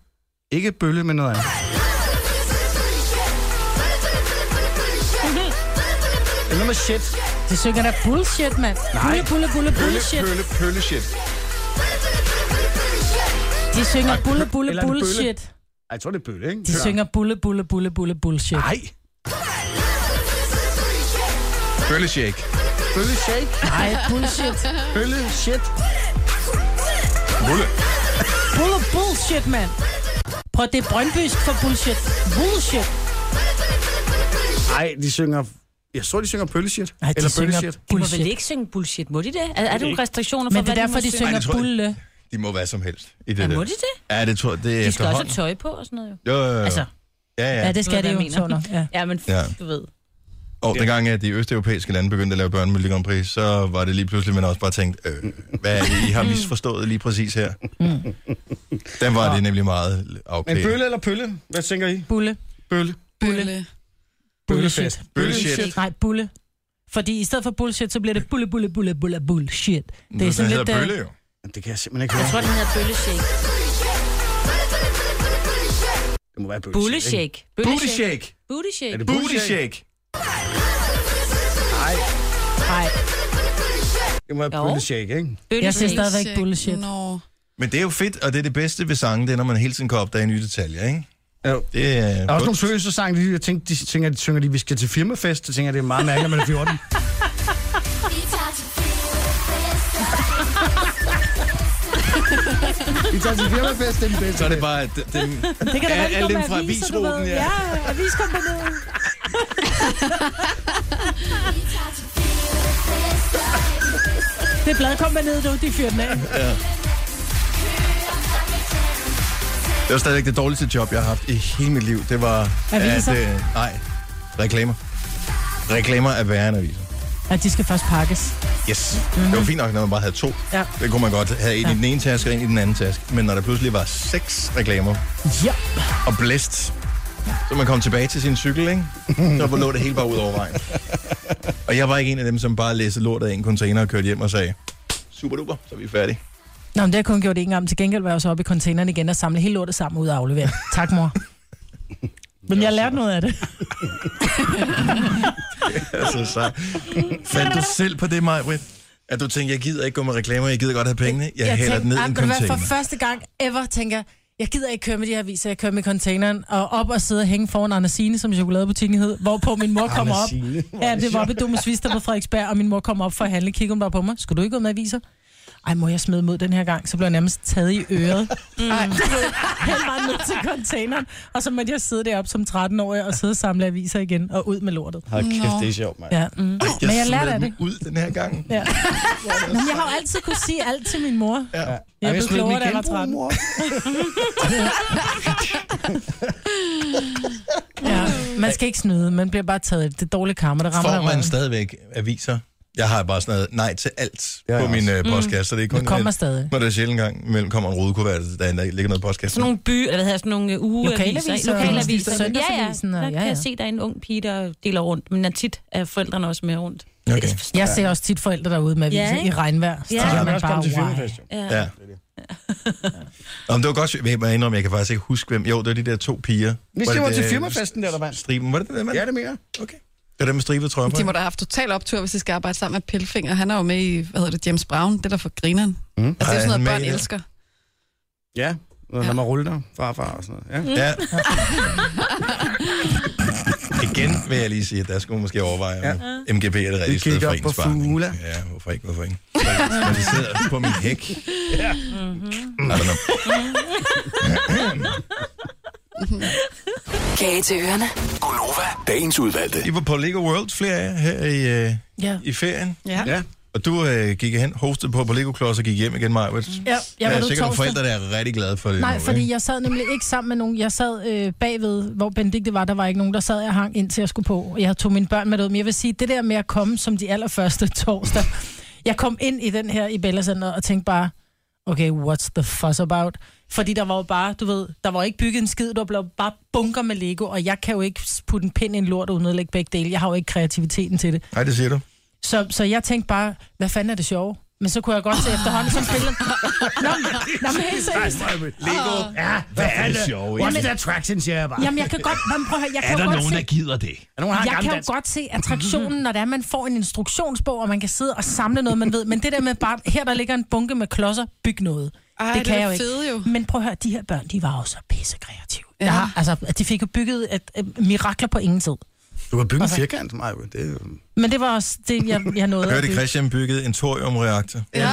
S2: ikke bølle, men noget andet. Det er noget med shit.
S5: Det synger da bullshit, mand. Bulle, bulle, bulle, bullshit.
S1: pølle, pølle, shit.
S5: De synger bulle, bulle,
S2: eller er det bølle?
S5: bullshit.
S2: Ej, jeg tror, det er bølle, ikke?
S5: De synger bulle, bulle, bulle, bulle, bullshit.
S2: Nej,
S1: Pølle, shake.
S2: bølle shake,
S5: Nej, bullshit.
S2: bølle shit.
S1: Bulle.
S5: Bulle, bullshit, mand. Prøv, det er Brøndbysk for bullshit. Bullshit.
S2: Nej, de synger... Jeg tror, de synger bølle shit.
S5: Nej, de
S2: Eller bølle
S5: synger
S2: shit.
S4: De må vel
S5: bullshit.
S4: ikke synge bullshit, må de det? Er, er der nogle restriktioner for,
S5: Men det
S4: hvad
S5: er derfor, de
S4: må
S5: synger
S1: Ej, det tror jeg-
S5: bulle.
S1: De må være som helst i det
S4: Ja,
S1: der.
S4: må de det?
S1: Ja, det tror jeg, det er
S4: De skal også
S1: efterhånden.
S4: have tøj på og sådan noget jo.
S1: Jo, jo, jo.
S4: Altså,
S1: ja, ja.
S5: Ja, det
S4: ved,
S5: skal de
S4: hvad
S5: jo,
S4: jeg mener.
S5: så nok. Ja.
S4: ja, men
S1: Ja.
S4: f- du ved.
S1: Og dengang at de østeuropæiske lande begyndte at lave børnemelodi Grand Prix, så var det lige pludselig, man også bare tænkte, øh, hvad er det, I har misforstået lige præcis her? Den var det nemlig meget
S2: Men
S1: okay.
S2: bølle eller pølle? Hvad tænker I?
S5: Bulle.
S2: Bølle.
S3: Bølle.
S5: Bullshit.
S1: Bølleshit.
S5: Nej, bulle. Fordi i stedet for bullshit, så bliver det bulle, bulle, bulle, bulle, bullshit. Det er
S1: Den
S5: sådan
S1: hedder
S5: lidt... øh,
S1: Bølle jo.
S2: Det kan jeg simpelthen ikke
S4: Jeg tror,
S2: høre.
S4: den hedder bølleshake.
S2: Det må være bølle shit, ikke?
S4: Bulleshake.
S2: Booty shake. Er
S4: Bootishake.
S2: det
S1: Booty
S2: booty
S1: shake.
S2: shake?
S4: Nej,
S2: Det må være
S4: Jo.
S2: bølle shake, ikke?
S4: bølleshake.
S5: Jeg synes stadigvæk bullshit.
S3: Nå.
S1: Men det er jo fedt, og det er det bedste ved sangen, det er, når man hele tiden kan opdage nye detaljer, ikke?
S2: Jo.
S1: Det er,
S2: Der er også nogle seriøse sange, de, jeg tænkte, de tænker, de synger, de, vi skal til firmafest. Det tænker jeg, det er meget mærkeligt, når man er 14. Vi tager til firmafest, det er den bedste.
S1: Så er det bare, at den, den,
S5: Det kan da
S1: Ja,
S5: være, det
S1: alle
S5: kommer
S1: dem fra
S5: aviser, du
S1: avisruten,
S5: ved.
S1: ja.
S5: Ja, aviskombineret. Det er bladkombineret, du. De fyrer den af.
S1: det var stadigvæk det dårligste job, jeg har haft i hele mit liv. Det var...
S5: Aviser?
S1: øh, nej, reklamer. Reklamer er værre end aviser.
S5: Ja, de skal først pakkes. Mhm.
S1: Yes. Mm-hmm. Det var fint nok, når man bare havde to.
S5: Ja.
S1: Det kunne man godt have en i den ene taske og en i den anden taske. Men når der pludselig var seks reklamer
S5: Ja.
S1: og blæst, så man kom tilbage til sin cykel, ikke? så lå det hele bare ud over vejen. Og jeg var ikke en af dem, som bare læste lortet af en container og kørte hjem og sagde, super duper, så er vi færdige.
S5: Nå, men det har jeg kun gjort én gang. Til gengæld var jeg så oppe i containeren igen og samle hele lortet sammen ud og aflevere. Tak, mor. Men jeg lærte noget af det.
S1: Altså, så fandt du selv på det, Majbrit? At du tænkte, jeg gider ikke gå med reklamer, jeg gider godt have pengene, jeg, jeg hælder den ned i
S5: "Ej,
S1: en
S5: ved du hvad,
S1: container.
S5: for første gang ever tænker jeg, jeg gider ikke køre med de her aviser, jeg kører med containeren, og op og sidde og hænge foran Andersine, som chokoladebutikken hed, hvorpå min mor kommer op.
S2: Andersine, hvor er
S5: Ja,
S2: det
S5: det var
S2: sjovt.
S5: ved Domus Vista på Frederiksberg, og min mor kommer op for at handle, kigger hun bare på mig, skulle du ikke gå med aviser? ej, må jeg smide mod den her gang? Så blev jeg nærmest taget i øret. Nej, mm. helt meget ned til containeren. Og så måtte jeg sidde deroppe som 13-årig og sidde og samle aviser igen og ud med lortet.
S2: Hold kæft, det er sjovt, mand.
S5: Ja, mm.
S1: Ej,
S5: Men jeg
S1: smed
S5: lærte af
S1: dem
S5: det.
S1: ud den her gang.
S5: Ja. Men jeg har jo altid kunne sige alt til min mor. Ja. Jeg,
S2: Ej, smed
S5: blev
S2: dem
S5: klogere, da jeg
S2: igen.
S5: var 13.
S2: Mor.
S5: Ja. Man skal ikke snyde, man bliver bare taget. i Det Det er dårlige karma, der rammer dig
S1: Får
S5: i røven.
S1: man stadigvæk aviser? Jeg har bare sådan noget nej til alt
S2: Ja,
S1: ja, på
S2: jeg
S1: min uh, postkasse, så det er kun
S5: Mm. Det kommer
S1: et-
S5: stadig.
S1: Når der er sjældent gang imellem kommer en rodekuvert, der, der ligger noget i postkassen.
S4: Sådan nogle by, eller hvad hedder sådan nogle øh, ugeaviser.
S5: Lokalaviser.
S4: Lokalaviser.
S5: Søndagsavisen,
S4: Ja,
S5: og
S4: ja. Der
S5: ja,
S4: kan
S5: ja.
S4: jeg se, der er en ung pige, der deler rundt. Men tit er forældrene også med rundt.
S1: Okay.
S5: Jeg ser også tit forældre derude med aviser
S4: Ja,
S5: ja,
S4: ikke?
S5: i regnvejr. Så ja,
S4: Ja. Så
S2: Ja,
S5: man
S2: man
S5: bare,
S2: også komme til
S5: wow.
S2: filmfest, jo.
S1: Ja. ja. Om det var godt, jeg må indrømme, jeg kan faktisk ikke huske, hvem. Jo, det var de der to piger.
S2: Vi
S1: det
S2: stemmer til
S1: det-
S2: firmafesten der, der vandt.
S1: Striben, var det det, der mand?
S2: Ja, det mener
S1: Okay. Det var dem med stribet trøjer på.
S3: De må da have haft total optur, hvis de skal arbejde sammen med Pelfinger. Han er jo med i, hvad hedder det, James Brown. Det er der for grineren. Mm. Altså, det
S1: Ej,
S3: er sådan
S1: han
S3: noget,
S1: med
S3: børn
S1: i det?
S3: elsker.
S2: Ja, lad mig rulle dig, farfar og sådan noget. Ja.
S1: Ja. Igen vil jeg lige sige, at der skulle man måske overveje, om MGP er det rigtige sted
S2: kigger
S1: for
S2: op på
S1: ens barn.
S2: Fula.
S1: ikke? Ja, hvorfor ikke, hvorfor ikke? Når de sidder på min hæk. Ja. Mm-hmm. I don't know.
S11: Kage til ørerne.
S7: Gunova, dagens udvalgte.
S1: I var på Lego World flere af jer her i, øh,
S5: Ja.
S1: i ferien.
S3: Ja.
S2: Ja.
S1: Og du øh, gik hen, hostede på på Lego Klods og gik hjem igen, Maja. Jeg
S5: Ja, jeg var
S1: er
S5: ude
S1: sikkert nogle
S5: torsdag.
S1: forældre, der er rigtig glade for det.
S5: Nej,
S1: nu,
S5: fordi
S1: ikke?
S5: jeg sad nemlig ikke sammen med nogen. Jeg sad øh, bagved, hvor Benedikte var, der var ikke nogen, der sad og hang indtil jeg skulle på. Og Jeg tog mine børn med ud, men jeg vil sige, det der med at komme som de allerførste torsdag. Jeg kom ind i den her i Bella Center og tænkte bare, okay, what's the fuss about? Fordi der var jo bare, du ved, der var ikke bygget en skid, der blev bare bunker med Lego, og jeg kan jo ikke putte en pind i en lort uden at lægge begge dele. Jeg har jo ikke kreativiteten til det.
S1: Nej, det siger du.
S5: Så, så jeg tænkte bare, hvad fanden er det sjove? Men så kunne jeg godt se efterhånden som spiller. Nå, men- nå, men helt seriøst.
S2: Lego. Ja, hvad er det? What's the attraction, siger jeg bare.
S5: Jamen, jeg kan godt, jamen, prøv at høre, jeg
S1: Er
S5: kan jo godt se,
S1: gider det?
S2: Er nogen, der har en
S5: jeg
S2: gammel
S5: kan jo
S2: dansk?
S5: godt se attraktionen, når det er, man får en instruktionsbog, og man kan sidde og samle noget, man ved. Men det der med bare, her der ligger en bunke med klodser, byg noget.
S3: Ej,
S5: det
S3: det
S5: kan
S3: er
S5: jeg jo ikke.
S3: fede jo.
S5: Men prøv at høre, de her børn, de var jo så pissekreative. Ja.
S3: Ja.
S5: Jeg har, altså, de fik jo bygget et, et, mirakler på ingen tid.
S2: Du kan bygge en firkant, Maja. Det er jo-
S5: Men det var også det, jeg, jeg nåede. at
S1: Hørte
S5: bygge.
S1: Christian byggede en thoriumreaktor.
S3: Ja,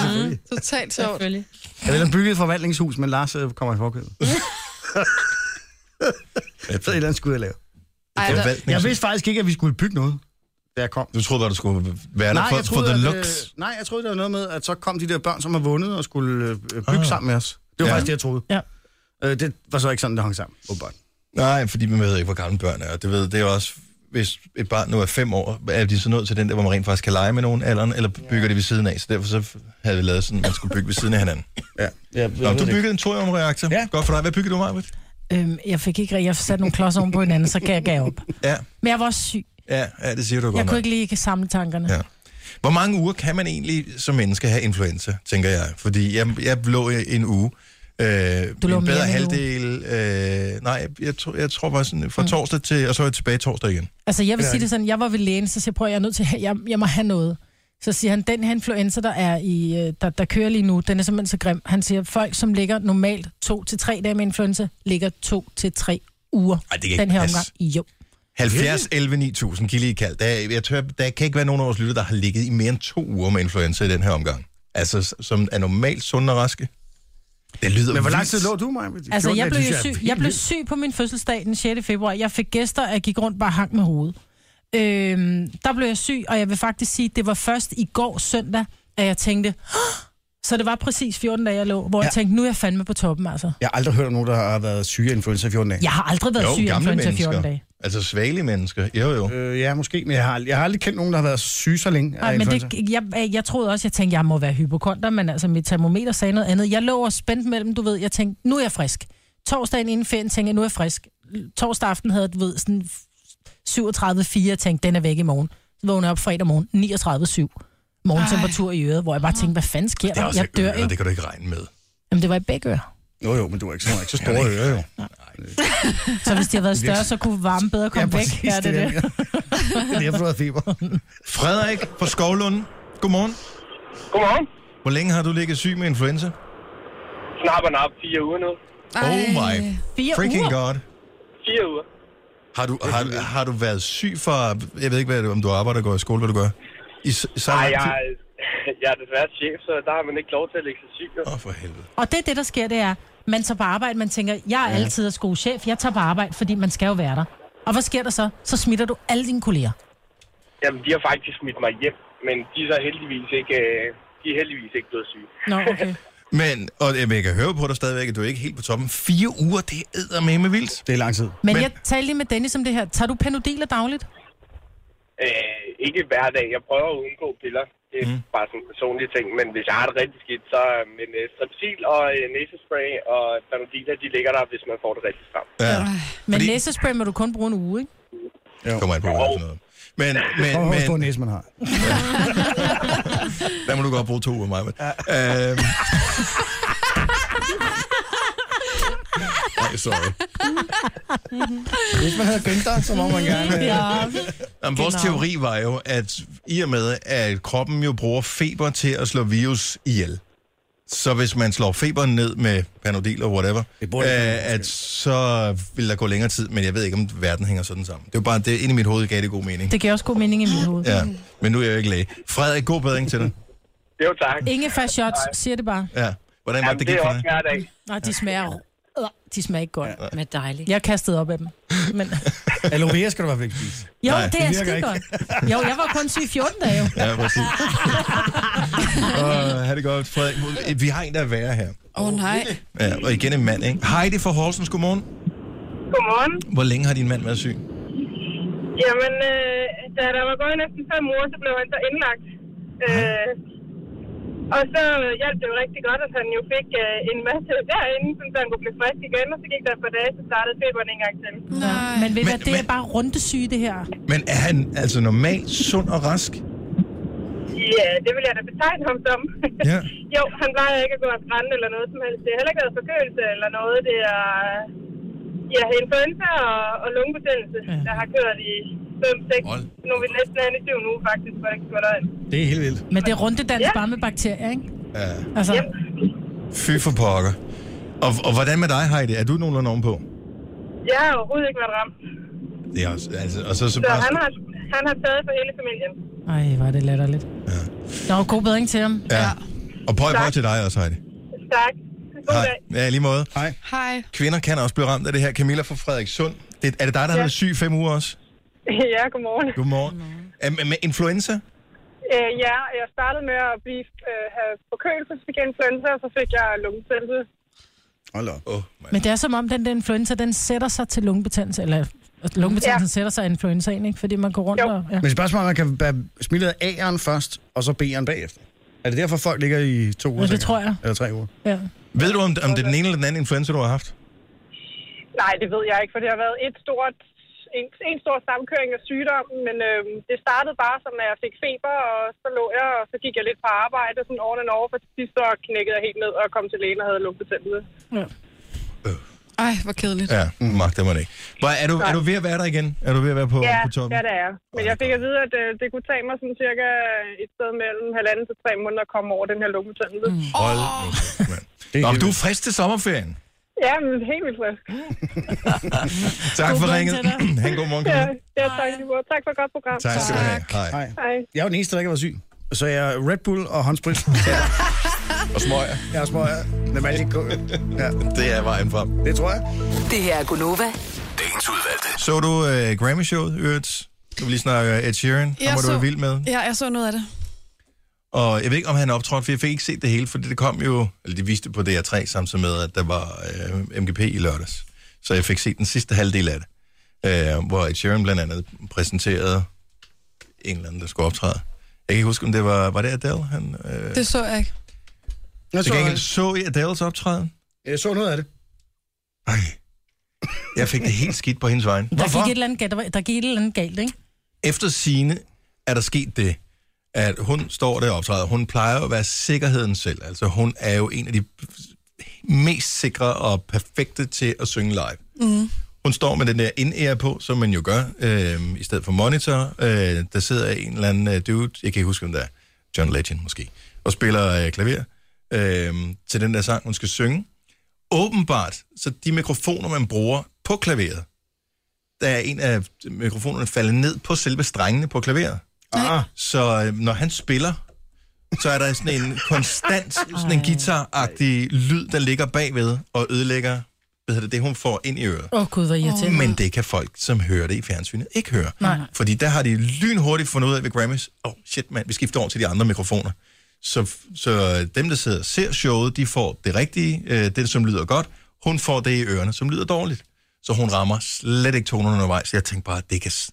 S3: totalt sjovt.
S4: Selvfølgelig.
S2: Jeg ville have bygget et forvandlingshus, men Lars øh, kommer i forkøbet. Så et eller andet skulle jeg lave.
S3: Ej, der,
S1: Forvaltning.
S2: Jeg vidste faktisk ikke, at vi skulle bygge noget, da jeg kom.
S1: Du troede bare, du skulle være der for, for the
S2: at,
S1: looks.
S2: Øh, nej, jeg troede, det var noget med, at så kom de der børn, som har vundet og skulle øh, bygge
S1: Ah.
S2: sammen med os. Det var
S1: Ja.
S2: faktisk det, jeg troede.
S5: Ja.
S2: Øh, det var så ikke sådan, det hang sammen, øh, åbenbart.
S1: Nej, fordi man ved ikke, hvor gamle børn er. Og Det, ved, det er også, hvis et barn nu er fem år, er de så nået til den der, hvor man rent faktisk kan lege med nogen alderen, eller bygger det ved siden af. Så derfor så havde vi lavet sådan, at man skulle bygge ved siden af hinanden.
S2: Ja. ja
S1: Nå, du byggede en thoriumreaktor.
S2: Ja.
S1: Godt for dig. Hvad byggede du, Marvitt?
S5: Øhm, jeg fik ikke rigtig- jeg satte nogle klodser oven på hinanden, så gav jeg gav op.
S1: Ja.
S5: Men jeg var også syg.
S1: ja, ja, det siger du godt
S5: Jeg
S1: nok.
S5: kunne ikke lige samle tankerne.
S1: Ja. Hvor mange uger kan man egentlig som menneske have influenza, tænker jeg? Fordi jeg, jeg lå i en uge. Øh,
S5: Du lå
S1: en
S5: mere
S1: bedre
S5: end en uge. Mm.
S1: halvdel. Øh, nej, jeg, jeg, tror, jeg tror bare sådan fra torsdag til, og så er jeg tilbage torsdag igen.
S5: Altså, jeg vil sige det sådan, jeg var ved lægen, så siger jeg, prøv, jeg er nødt til, at- jeg, jeg må have noget. Så siger han, den her influenza, der, er i, øh, der, der kører lige nu, den er simpelthen så grim. Han siger, folk, som ligger normalt to til tre dage med influenza, ligger to til tre uger.
S1: Ej, det kan ikke
S5: den her
S1: passe.
S5: omgang. Jo.
S1: 70, 11, 9000, kilde i kald. Der, er- jeg tør, der kan ikke være nogen af vores lytter, der har ligget i mere end to uger med influenza i den her omgang. Altså, s- som er normalt sunde og raske. Det lyder
S2: Men hvor lang
S1: vildt.
S2: tid lå du, Maja? De
S5: Altså,
S2: 14
S5: jeg
S2: dage,
S5: blev,
S2: synes
S5: jo
S2: er
S5: syg,
S2: vildt.
S5: jeg blev syg på min fødselsdag den 6. februar. Jeg fik gæster, og jeg gik rundt bare og hang med hovedet. Øhm, der blev jeg syg, og jeg vil faktisk sige, det var først i går søndag, at jeg tænkte, "Hå!" så det var præcis 14 dage, jeg lå, hvor ja. jeg tænkte, nu er jeg fandme på toppen, altså.
S2: Jeg har aldrig hørt om nogen, der har været syge af influenza i 14 dage.
S5: Jeg har aldrig været
S1: Jo,
S5: syg af
S1: gamle
S5: influenza i
S1: mennesker.
S5: 14 dage.
S1: Altså svagelige mennesker. Jo, jo.
S2: Øh, ja, måske, men jeg har, ald- jeg har aldrig kendt nogen, der har været syge så længe af
S5: Nej, men
S2: influenza.
S5: det, jeg, jeg troede også, jeg tænkte, jeg må være hypokonter, men altså mit termometer sagde noget andet. Jeg lå og spændt mellem, du ved, jeg tænkte, nu er jeg frisk. Torsdagen inden ferien tænkte jeg, nu er jeg frisk. Torsdag aften havde jeg, du ved, sådan 37,4, jeg tænkte, den er væk i morgen. Så vågnede jeg op fredag morgen, 39,7. Morgentemperatur i øret, hvor jeg bare tænkte, hvad fanden sker
S1: Det er
S5: der?
S1: også
S5: Jeg dør,
S1: ører,
S5: ikke?
S1: det kan du ikke regne med.
S5: Jamen, det var i begge ører.
S2: Jo, jo, men du er ikke, så, ikke så store ører, jo.
S5: Så hvis de havde været større, så kunne varmen bedre komme væk. Ja, det, er
S2: det.
S5: det.
S2: det er derfor, du har feber.
S1: Frederik fra Skovlund. Godmorgen.
S12: Godmorgen.
S1: Hvor længe har du ligget syg med influenza?
S12: Snap og nap, fire uger nu.
S1: Oh my
S5: Fire
S1: freaking
S5: uger.
S1: god.
S12: Fire uger.
S1: Har du, har, har du været syg for... Jeg ved ikke, hvad, det- om du arbejder, går i skole, hvad du gør. I, s- så
S12: Nej,
S1: lang tid?
S12: jeg, jeg er desværre chef, så der har man ikke lov til at lægge sig syg. Åh,
S1: oh, for helvede.
S5: Og det er det, der sker, det er, man tager på arbejde, man tænker, jeg er
S12: Ja.
S5: altid deres gode chef, jeg tager på arbejde, fordi man skal jo være der. Og hvad sker der så? Så smitter du alle dine kolleger.
S12: Jamen, de har faktisk smidt mig hjem, men de er så heldigvis ikke, øh, de er heldigvis ikke blevet syge.
S5: Nå, okay.
S1: Men, og jamen, jeg kan høre på dig stadigvæk, at du er ikke helt på toppen. Fire uger, det er med vildt.
S2: Det er lang tid.
S5: Men, Men jeg talte lige med Dennis om det her. Tager du penodiler dagligt?
S12: Øh, ikke hver dag. Jeg prøver at undgå piller. Det er mm. bare sådan en personlig ting. Men hvis jeg har det rigtig skidt, så øh, men øh, strepsil og øh, næsespray og panodiler, de ligger der, hvis man får det rigtig stramt.
S1: Ja.
S5: Men Fordi... næsespray må du kun bruge en uge, ikke?
S1: Jo. Kommer an på, hvad det er for noget. Men, men,
S2: Hvor stor
S1: men,
S2: næse man har.
S1: der må du godt bruge to uger, mig. Ja. Øhm. Nej, sorry.
S2: Hvis man havde gønt dig, så må man gerne. øh.
S1: Ja. Jamen, vores
S2: Genau.
S1: teori var jo, at i og med, at kroppen jo bruger feber til at slå virus ihjel, så hvis man slår feberen ned med panodil og whatever, øh, at så vil der gå længere tid, men jeg ved ikke, om verden hænger sådan sammen. Det er jo bare, det ind i mit hoved gav det god mening.
S5: Det giver også god mening i mit hoved.
S1: Ja, men nu er jeg jo ikke læge. Frederik, god bedring til dig.
S12: Jo, tak.
S5: Ingefær shots, siger det bare.
S1: Ja. Hvordan var det, det gik for dig?
S12: hver dag.
S5: Nej, de smager... Øh, De smager ikke godt. Ja.
S13: Men dejligt.
S5: Jeg kastede op af dem. Men...
S2: Aloe vera skal du i hvert fald ikke spise.
S5: Jo,
S2: Nej,
S5: Nej, det
S2: det
S5: er
S2: virker
S5: skide
S2: ikke.
S5: godt. Jo, jeg var kun syg i 14 dage. jo.
S1: Ja, præcis. Åh, ha' det godt, Frederik. Vi har en, der er værre her.
S3: Åh oh, nej.
S1: Ja, og igen en mand, ikke? Heidi fra Horsens, godmorgen.
S6: Godmorgen.
S1: Hvor længe har din mand været syg?
S6: Jamen, øh, da der var gået næsten fem uger, så blev han så indlagt. Øh, og så øh, hjalp det jo rigtig godt, at han jo fik øh, en masse derinde, sådan, så han kunne blive frisk igen. Og så gik der et par dage, så startede feberen en gang til.
S5: Nej. Men ved du, hvad, det er bare rundesyge, det her.
S1: Men er han altså normalt sund og rask?
S6: Ja, øh, det vil jeg da betegne ham som.
S1: Ja.
S6: jo, han plejer ikke at gå af brænde eller noget som helst. Det er heller ikke noget forkølelse eller noget. Det er øh, ja, influenza og, og lungebetændelse, ja. der har kørt i 5-6. Nu er vi næsten hen i 7 nu faktisk, hvor det ikke går derind.
S2: Det er helt vildt.
S5: Men det er rundedans ja. bare med bakterier, ikke?
S1: Ja.
S5: Altså, ja.
S1: Fy for pokker. Og, og hvordan med dig, Heidi? Er du nogenlunde ovenpå?
S6: Jeg har overhovedet ikke været ramt.
S1: Det er også, altså, og så,
S6: Så,
S1: så
S6: så
S1: bare...
S6: han, har, han har taget for hele familien.
S5: Ej, var det latterligt. Ja. Nå, god bedring til ham.
S1: Ja. Og prøv, prøv
S6: Tak.
S1: til dig også, Heidi.
S6: Tak. God
S1: Hej.
S6: dag.
S1: Ja, i lige måde.
S2: Hej.
S3: Hej.
S1: Kvinder kan også blive ramt af det her. Camilla fra Frederikssund. Det, er det dig, der ja. har
S6: Ja.
S1: været syg i fem uger også?
S6: Ja, godmorgen.
S1: Godmorgen. Godmorgen. Med, med influenza?
S6: Øh, ja, jeg startede med at blive, øh, have forkølelse, så fik jeg influenza, og så fik jeg lungebetændelse.
S2: Hold op.
S1: Oh.
S5: Men det er som om, den der influenza, den sætter sig til lungebetændelse, eller lungebetændelsen ja.
S6: Ja.
S5: sætter sig i influenzaen, ikke? Fordi man går rundt og... Ja.
S2: Men spørgsmålet er, man kan være smittet af A'eren først, og så B'eren bagefter. Er det derfor, folk ligger i to uger?
S5: det
S2: tænker
S5: tror jeg.
S2: Eller tre uger.
S5: Ja.
S1: Ved du, om, om det er den ene eller den anden influenza, du har haft?
S6: Nej, det ved jeg ikke, for det har været et stort, en, en stor sammenkøring af sygdommen, men øh, det startede bare som, at jeg fik feber, og så lå jeg, og så gik jeg lidt på arbejde, sådan over and over, for til sidst så knækkede jeg helt ned og kom til lægen og havde lungebetændelse.
S1: Øh.
S3: Ej, hvor kedeligt.
S1: Ja, mm. magter man ikke. Hvor, er, du, er du ved at være der igen? Er du ved at være på,
S6: ja,
S1: på toppen?
S6: ja, det er jeg. Men jeg fik at vide, at øh, det kunne tage mig sådan cirka et sted mellem halvanden til tre måneder at komme over den her lungebetændelse. Mm.
S1: Hold nu kæft, mand. Nå, men du er frisk til sommerferien.
S6: Ja, men helt vildt frisk.
S1: Tak
S6: God
S1: for
S6: morgen
S1: ringet.
S6: til dig.
S1: ha' en god morgen,
S6: Ja,
S1: Camilla.
S6: ja, tak, i lige måde. tak for et godt program.
S1: Tak skal du have. Hej.
S2: Hej.
S6: Hej.
S2: Jeg er jo den eneste, der ikke har været syg. Så jeg er Red Bull og håndsprit.
S1: Og smøger.
S2: Jeg er smøger. Med magic coke. ja.
S1: Det er vejen frem.
S2: Det tror jeg.
S11: Det her er Gunova.
S1: Dagens udvalgte. Så du øh, Grammy-showet, Ørts? Du vil lige snakke øh, Ed Sheeran. Jeg
S3: Jeg
S1: ham var så...
S3: så-
S1: du vild med.
S3: Ja, jeg så noget af det.
S1: Og jeg ved ikke, om han optrådte, for jeg fik ikke set det hele, for det kom jo, eller de viste det på DR3 samtidig med, at der var øh, MGP i lørdags. Så jeg fik set den sidste halvdel af det, øh, hvor Ed Sheeran blandt andet præsenterede en eller anden, der skulle optræde. Jeg kan ikke huske, om det var, var det Adele? Han, øh,
S3: Det så jeg ikke.
S2: Jeg
S1: til
S2: så,
S1: gengæld så I Adeles optræden.
S2: jeg så noget af det.
S1: Jeg fik det helt skidt på hendes vejen.
S5: Der gik, et eller andet, galt- der, var- der gik et eller andet galt, ikke?
S1: Efter sine er der sket det, at hun står der og optræder. Hun plejer jo at være sikkerheden selv. Altså hun er jo en af de mest sikre og perfekte til at synge live.
S14: Mm.
S1: Hun står med den der in-air på, som man jo gør, øh, i stedet for monitor. Øh, der sidder en eller anden øh, dude, jeg kan ikke huske, om det er John Legend måske, og spiller øh, klaver øh, til den der sang, hun skal synge. Åbenbart, så de mikrofoner, man bruger på klaveret, der er en af mikrofonerne faldet ned på selve strengene på klaveret. Ah. Så øh, når han spiller, så er der sådan en konstant, sådan en guitaragtig lyd, der ligger bagved og ødelægger hvad hedder det, det, hun får ind i øret.
S5: Åh, oh, gud, hvor irriterende.
S1: Men det kan folk, som hører det i fjernsynet, ikke høre.
S5: Nej.
S1: Fordi der har de lynhurtigt fundet ud af ved Grammys, åh oh, shit mand, vi skifter over til de andre mikrofoner. Så, så øh, dem, der sidder og ser showet, de får det rigtige, øh, det som lyder godt. Hun får det i ørerne, som lyder dårligt. Så hun rammer slet ikke tonerne undervejs. Jeg tænkte bare, det kan... s-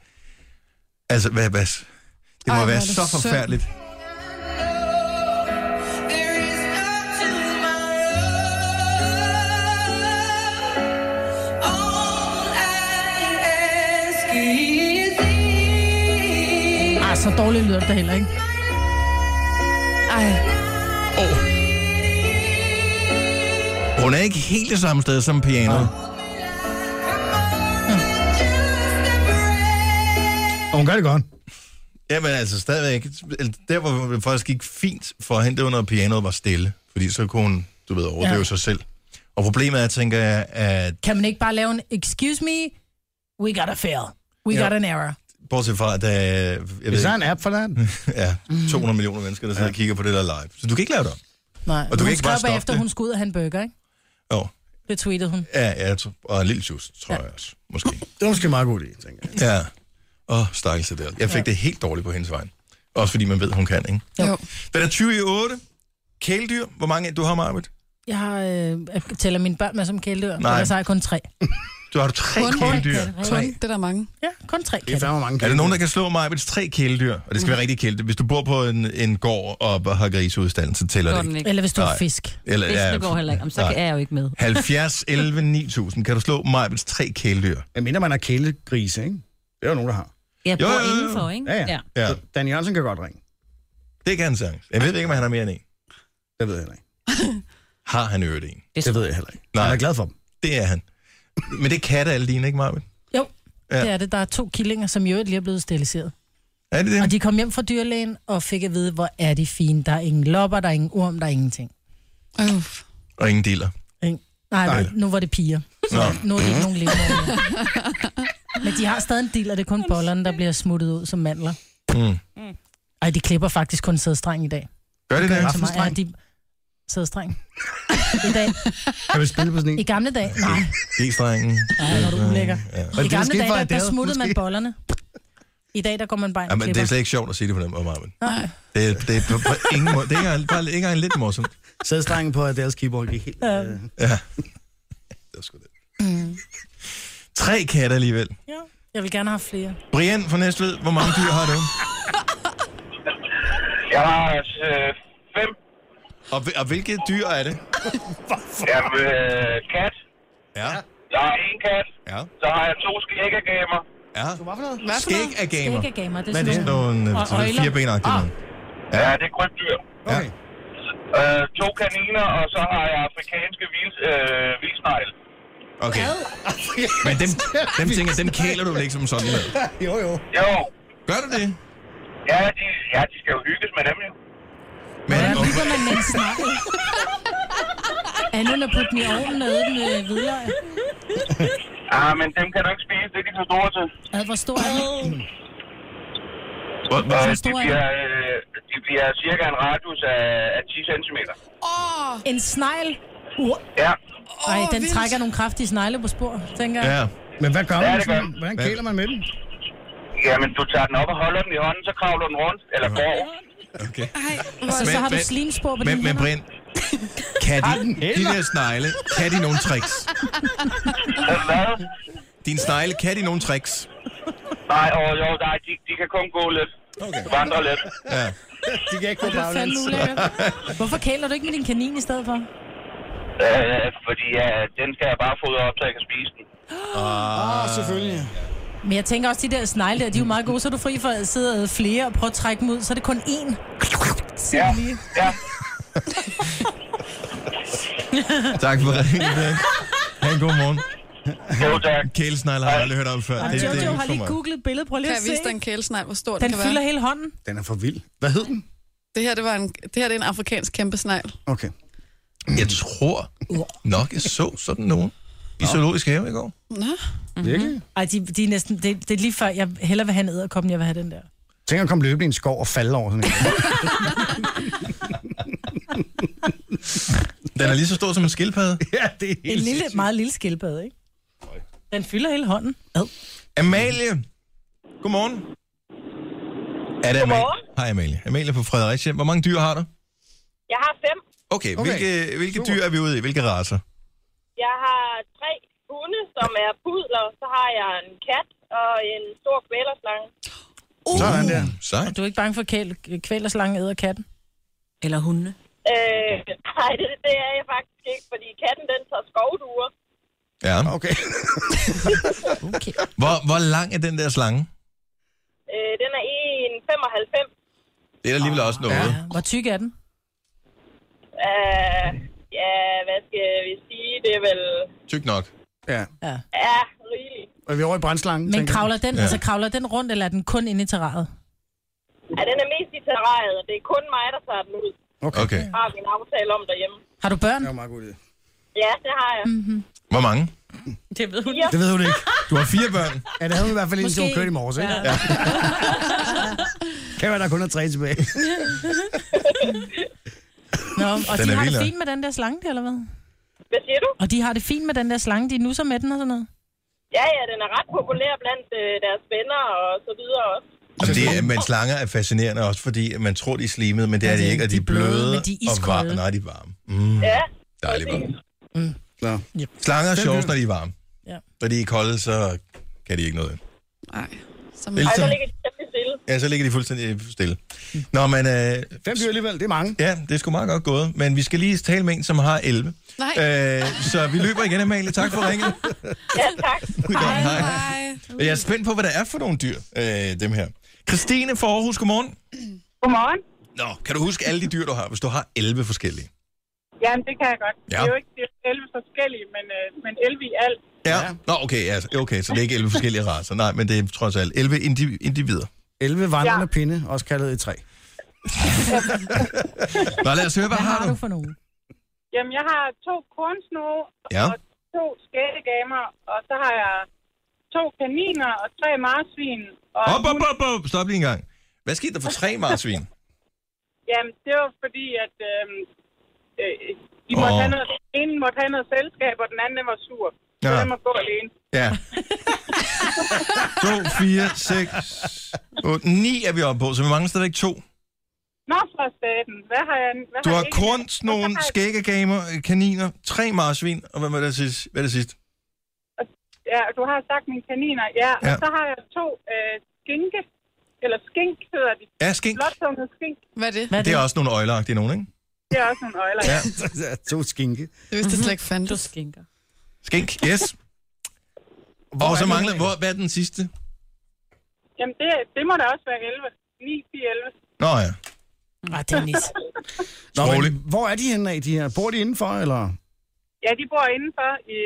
S1: Altså, hvad, hvad? Det må
S15: Ej,
S1: Ej,
S15: hvor er
S1: være
S15: det
S1: så
S15: synd.
S1: forfærdeligt.
S5: Ah, så dårligt lyder det da heller ikke. Ej.
S1: Hun er ikke helt det samme sted som pianoet.
S2: Og hun gør det godt.
S1: Jamen altså, stadigvæk. Der, hvor det faktisk gik fint for hende, det var, når pianoet var stille. Fordi så kunne hun, du ved, overdøve
S5: Ja.
S1: ja. sig selv. Og problemet er, tænker jeg, at
S5: Kan man ikke bare lave en, excuse me, we got a fail. We
S1: Ja.
S5: got an error.
S1: bortset fra, at der... Jeg
S2: Hvis der er en app for den.
S1: ja, 200 millioner mennesker, der sidder og kigger på det der live. Så du kan ikke lave det om.
S5: Nej,
S1: Og du kan
S5: hun
S1: ikke bare
S5: skrev
S1: stoppe
S5: bagefter,
S1: det.
S5: hun skulle ud og have en burger, ikke?
S1: Jo.
S5: Det tweetede hun.
S1: Ja, ja, t- og en lille juice, tror ja. jeg også. Måske.
S2: Det var måske en meget god idé, tænker jeg.
S1: Ja. Åh, oh, stakkelse der. Jeg fik ja. det helt dårligt på hendes vej. Også fordi man ved, hun kan, ikke?
S5: Jo.
S1: Den er 20 i 8. Kæledyr. Hvor mange du har, Marvitt?
S5: Jeg har, øh, jeg tæller mine børn med som kæledyr,
S1: Nej.
S5: Nej.
S4: Altså,
S5: ellers har jeg kun tre.
S1: Du har tre
S5: Kun-
S1: kæledyr.
S5: Kun,
S1: Tre.
S5: det er der mange. Ja, kun tre katte.
S1: Er der nogen, der kan slå Marvitts tre kæledyr? Og det
S4: Mm.
S1: skal være rigtig kæledyr. Hvis du bor på en, en gård og har grisudstallen, så tæller
S4: Går
S1: det
S4: den
S1: ikke.
S4: ikke. Eller hvis du har fisk.
S1: Eller,
S4: Fiskene går heller ikke. Jamen, så er jeg jo ikke med.
S1: 70, 11, 9000. Kan du slå Marvitts tre kæledyr?
S2: Jeg mener, man har kælegrise, ikke? Det er jo nogen, der har.
S4: Jeg bor indenfor, ikke?
S2: Ja, ja. ja. Dan Jørgensen kan godt ringe.
S1: Det kan han sagtens. Jeg ved ikke, om han har mere end en.
S2: Det ved jeg heller ikke.
S1: Har han øvet en?
S2: Det ved jeg heller ikke.
S1: Nej.
S2: Han er glad for dem.
S1: Det er han. Men det er katte alle dine, ikke Marvitt?
S5: Jo,
S1: Ja.
S5: ja. det er det. Der er to killinger, som jo lige er blevet steriliseret.
S1: Er det det?
S5: Og de kom hjem fra dyrlægen og fik at vide, hvor er de fine. Der er ingen lopper, der er ingen orm, der er ingenting. Uff.
S1: Og ingen dealer.
S5: Nej,
S1: Nej.
S5: Nej, nu var det piger. Så
S1: Nå.
S5: nu er det ikke nogen levende. mere. Men de har stadig en del, og det er kun bollerne, der bliver smuttet ud som mandler.
S1: Mm.
S5: Ej, de klipper faktisk kun sædstreng i dag.
S1: Gør de det?
S5: Til mig, ja, de... Sædstreng. I dag.
S2: Kan vi spille på sådan en?
S5: I gamle dage? Nej.
S1: G-strengen.
S5: Ja, når du ulækker.
S1: Ja.
S5: I gamle dage, der, der smuttede man bollerne. I dag, der går man bare ind og
S1: Jamen, det er
S5: klipper.
S1: slet ikke sjovt at sige det på den måde, Marvin.
S5: Nej.
S1: Det, er- det er på, på ingen måde. Det er ikke engang- bare ikke engang lidt morsomt.
S2: Sædstrengen på Adele's keyboard gik helt...
S5: Ja.
S2: Øh,
S1: Ja. Tre katte alligevel.
S5: Ja, jeg vil gerne have flere.
S1: Brian fra Næstved, hvor mange dyr har du?
S12: Jeg har øh, fem.
S1: Og, hvil- og hvilke dyr er det?
S12: Jamen, øh, kat.
S1: Ja.
S12: Jeg har en kat.
S1: Ja.
S12: Så har jeg to skæggegamer.
S1: Ja.
S5: Hvad for noget?
S1: Skæg er gamer.
S5: Skæg er gamer, det er
S1: Hvad er det?
S5: sådan
S1: Sådan nogle
S5: nogle-
S1: øh, sådan
S5: og
S1: nogle
S5: øjler.
S1: firebenagtige
S5: Ah.
S1: nogle.
S12: Ja, ja det er krybdyr.
S1: Okay.
S12: Øh, to kaniner, og så har jeg afrikanske vild, øh, vildsnegl.
S1: Okay. Men dem, dem tænker, jeg, dem kæler du vel ikke som sådan med?
S2: jo, jo.
S12: Jo.
S1: Gør du det?
S12: Ja, de, ja, de skal jo hygges med dem, jo.
S1: Men,
S5: Hvordan bygger man med en snakkel? Andet end at putte den i ovnen og æde den øh, med hvidløg.
S12: Ah, men dem kan du ikke spise, det er de for store til.
S5: Ad, hvor stor er den?
S1: Hvor,
S12: Øh,
S5: hvor
S12: de,
S5: stor er
S12: bliver, øh, de bliver cirka en radius af, af 10 cm.
S5: En snegl? Uh.
S12: Ja.
S5: Ej, den trækker nogle kraftige snegle på spor, tænker jeg.
S2: Men hvad gør
S12: Ja,
S2: man?
S12: det
S2: Sådan?
S12: gør.
S2: Hvordan
S12: Hvad?
S2: kæler man med dem?
S12: Jamen, du tager den op og holder den i hånden, så kravler den rundt, eller går.
S1: Okay.
S5: Så, så har du slimspor på
S1: men,
S5: dine
S1: men
S5: hænder.
S1: Brind, kan
S5: Har
S1: de,
S5: den
S1: de der snegle, kan de nogle tricks? Din snegle, kan de nogle tricks?
S12: Nej, og jo, nej, de, de kan kun gå lidt.
S1: Okay.
S12: Vandre lidt.
S1: Ja.
S2: De kan ikke
S5: Ej, Det er fandme ulækkert. Hvorfor kæler du ikke med din kanin i stedet for?
S12: Øh, fordi ja, den skal jeg bare fodre op, så jeg kan spise den.
S5: Ah,
S2: Åh, oh, selvfølgelig.
S5: Men jeg tænker også, de der snegle der, de er jo meget gode, så er du fri for at sidde og æde flere og prøve at trække dem ud, så er det kun én. Ja,
S12: ja.
S1: Tak for ringen, Brian. Ha' en god morgen.
S12: Jo, tak.
S1: Kælesnegle har jeg aldrig hørt om før.
S5: Og
S1: Det, det,
S5: Jojo
S1: er
S5: har
S1: nyt for
S5: lige
S1: mig.
S5: googlet billedet, prøv lige
S3: Kan
S5: at
S3: jeg
S5: se.
S3: vise dig en kælesnegl, hvor stor den,
S5: Den
S3: kan
S5: fylder
S3: være?
S5: hele hånden.
S2: Den er for vild. Hvad hed den?
S3: Det her, det, var en, det her det er en afrikansk kæmpe snegl.
S2: Okay.
S1: Jeg tror nok, jeg så sådan nogen i zoologisk have i går.
S3: Nå.
S2: Mm-hmm. Virkelig?
S5: Ej, de, de er næsten, det, det er lige før, jeg hellere vil have en æderkoppen, jeg vil have den der.
S2: Tænk at komme løbende i en skov og falde over sådan en.
S1: Den er lige så stor som en skildpadde.
S2: ja, det er
S5: En lille, meget lille skildpadde, ikke? Den fylder hele hånden. Ad.
S1: Amalie. Godmorgen. Er det Amalie? Hej Amalie. Amalie fra Fredericia. Hvor mange dyr har du?
S15: Jeg har fem.
S1: Okay, okay. hvilke, hvilke dyr er vi ude i? Hvilke raser?
S15: Jeg har tre hunde, som er pudler. Så har jeg en kat og en stor kvælerslange.
S5: Uh. Sådan
S1: der. Sejt.
S5: Og du er ikke bange for, at kæl- kvælerslangen æder katten? Eller hundene?
S15: Øh, nej, det, det er jeg faktisk ikke, fordi katten den tager skovduer.
S1: Ja. Okay. okay. Hvor, hvor lang er den der slange?
S15: Øh, den er 1,95.
S1: Det er der
S2: Ah.
S1: alligevel også noget. Ja.
S5: Hvor tyk er den?
S15: Øh, ja, hvad skal vi sige? Det er vel...
S1: Tyk nok.
S2: Ja.
S5: Ja.
S15: Ja, rigeligt.
S2: Er vi over i brændslangen?
S5: Men kravler den,
S2: Ja.
S5: ja. altså, kravler den rundt, eller er den kun inde i terrariet?
S15: Ja, den er mest i terrariet, og det er kun mig, der tager den ud.
S1: Okay. okay.
S15: Har vi en aftale om derhjemme.
S5: Har du børn?
S2: Det er meget god idé.
S15: Ja, det har jeg. Mm-hmm.
S1: Hvor mange?
S15: Det ved hun
S2: Det ved hun ikke.
S1: Du har fire børn.
S2: Ja, det havde hun i hvert fald indtil hun
S15: Måske.
S2: kørte i morges, ikke? Ja.
S15: Ja.
S2: kan være, der kun er tre tilbage.
S5: Nå, og
S2: Den
S5: de
S2: er
S5: har
S2: vild,
S5: det
S2: ja.
S5: fint med den der slange, der, eller hvad?
S15: Hvad siger du?
S5: Og de har det fint med den der slange, de nusser med den og sådan noget?
S15: Ja, ja, den er ret populær blandt øh, deres venner og så videre også.
S1: Jamen, det er, men slanger er fascinerende også, fordi man tror, de er slimede, men det er de ikke, og de er bløde
S15: men de er
S1: og varme.
S15: iskolde.
S1: Nej, de er varme. Mm,
S15: Ja.
S1: dejligt varme.
S5: Mm.
S1: Nå. Slanger er
S15: Den
S1: sjovt,
S15: lyder-
S1: når de er varme.
S5: Ja.
S1: Når de er kolde, så kan de ikke noget.
S3: Nej. Som...
S1: Det er
S15: Ej, så
S1: ligesom-
S15: ligger de temmelig stille.
S1: Ja, så ligger de fuldstændig stille. Nå, men... Øh,
S2: Fem dyr alligevel, det er mange.
S1: Ja, det er sgu meget godt gået. Men vi skal lige tale med en, som har 11.
S3: Nej.
S1: Øh, så vi løber igen, Amalie. Tak for ringet.
S15: Ja, tak.
S1: Hej, hej. Jeg er spændt på, hvad der er for nogle dyr, øh, dem her. Christine fra Aarhus, godmorgen.
S15: Godmorgen.
S1: Nå, kan du huske alle de dyr, du har, hvis du har 11 forskellige?
S16: Jamen, det kan jeg godt.
S1: Ja.
S16: Det er jo ikke det er 11 forskellige, men, øh, men 11 i alt.
S1: Ja. ja. Nå, okay, ja, okay, så det er ikke 11 forskellige raser. Nej, men det er trods alt 11 indi- individer.
S2: 11 vandrende ja. pinde, også kaldet et træ.
S1: Nå, lad os høre, hvad, har du?
S5: for nogen?
S16: Jamen, jeg har to kornsnoge
S1: Ja.
S16: og to skættegamer, og så har jeg to kaniner og tre marsvin. Og
S1: Hop, hop, hop, hop. Stop lige en gang. Hvad skete der for tre marsvin?
S16: Jamen, det var fordi, at øh, øh, de måtte
S1: Åh.
S16: have noget, en måtte have noget selskab, og den anden den var sur. Så
S1: Ja.
S16: den må gå alene.
S1: Ja. 2, 4, 6, 8, 9 er vi oppe på, så vi mangler stadigvæk to.
S16: Nå, for staten. Hvad har jeg... Hvad
S1: Du har
S16: jeg ikke-
S1: kornsnogen, skæggegamer, øh, kaniner, tre marsvin, og hvad var det sidste? Hvad er det sidste?
S16: Ja, du har sagt mine kaniner. Ja, ja. og
S1: Ja.
S16: så har jeg to øh, skinke. Eller skink hedder de.
S1: Ja, skink.
S16: Blåtunget skink.
S3: Hvad er det?
S1: Det er også nogle øjleagtige nogen, ikke?
S16: Det er også nogle øjler.
S1: Ja.
S2: to skinke.
S3: Det vidste jeg slet ikke fandtes. Du
S5: skinker.
S1: Skink, yes. og så mangler, hvor, hvad er den sidste?
S16: Jamen, det, det må da også være 11. 9, 10, 11.
S1: Nå ja.
S3: Ah,
S5: Nej, Dennis.
S2: Nå, men, hvor er de henne af, de her? Bor de indenfor, eller?
S16: ja, de bor indenfor. I,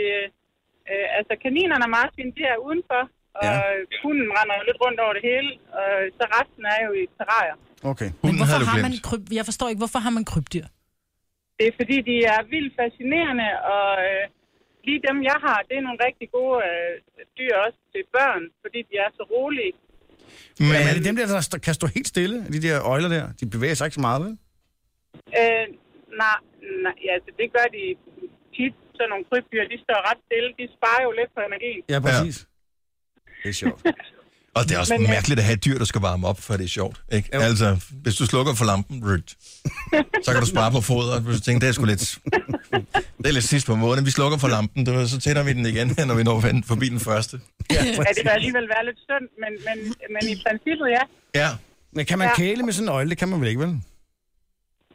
S16: øh, altså, kaninerne og marsvin, de er udenfor. Og
S2: Ja.
S16: ja. hunden render jo lidt rundt over det hele. Og så resten er jo i terrarier.
S2: Okay.
S1: Hunden
S5: hvorfor
S1: havde du
S5: har man
S1: glemt.
S5: kryb... Jeg forstår ikke, hvorfor har man krybdyr?
S16: Det er fordi, de er vildt fascinerende, og øh, lige dem, jeg har, det er nogle rigtig gode øh, dyr også til børn, fordi de er så rolige.
S1: Men...
S2: Jamen, er det dem der, der st- kan stå helt stille, de der øjler der? De bevæger sig ikke så meget, vel?
S16: Øh, nej, nej, altså det gør de tit, sådan nogle krybdyr, de står ret stille, de sparer jo lidt på energien.
S2: Ja, præcis. Ja. Det er sjovt.
S1: Og det er også
S16: Men, øh,
S1: mærkeligt at have et dyr, der skal varme op, for det er sjovt. Ikke? Altså, hvis du slukker for lampen, ryt, så kan du spare på foder. Hvis du tænker, det er sgu lidt, det er lidt sidst på måneden. Vi slukker for lampen, du, ved, så tænder vi den igen, når vi når ven- forbi den første.
S16: Ja, det vil alligevel være lidt synd, men, men, men i princippet, ja.
S1: Ja.
S2: Men kan man
S16: Ja.
S2: ja. kæle med sådan en øjle? Det kan man vel ikke, vel?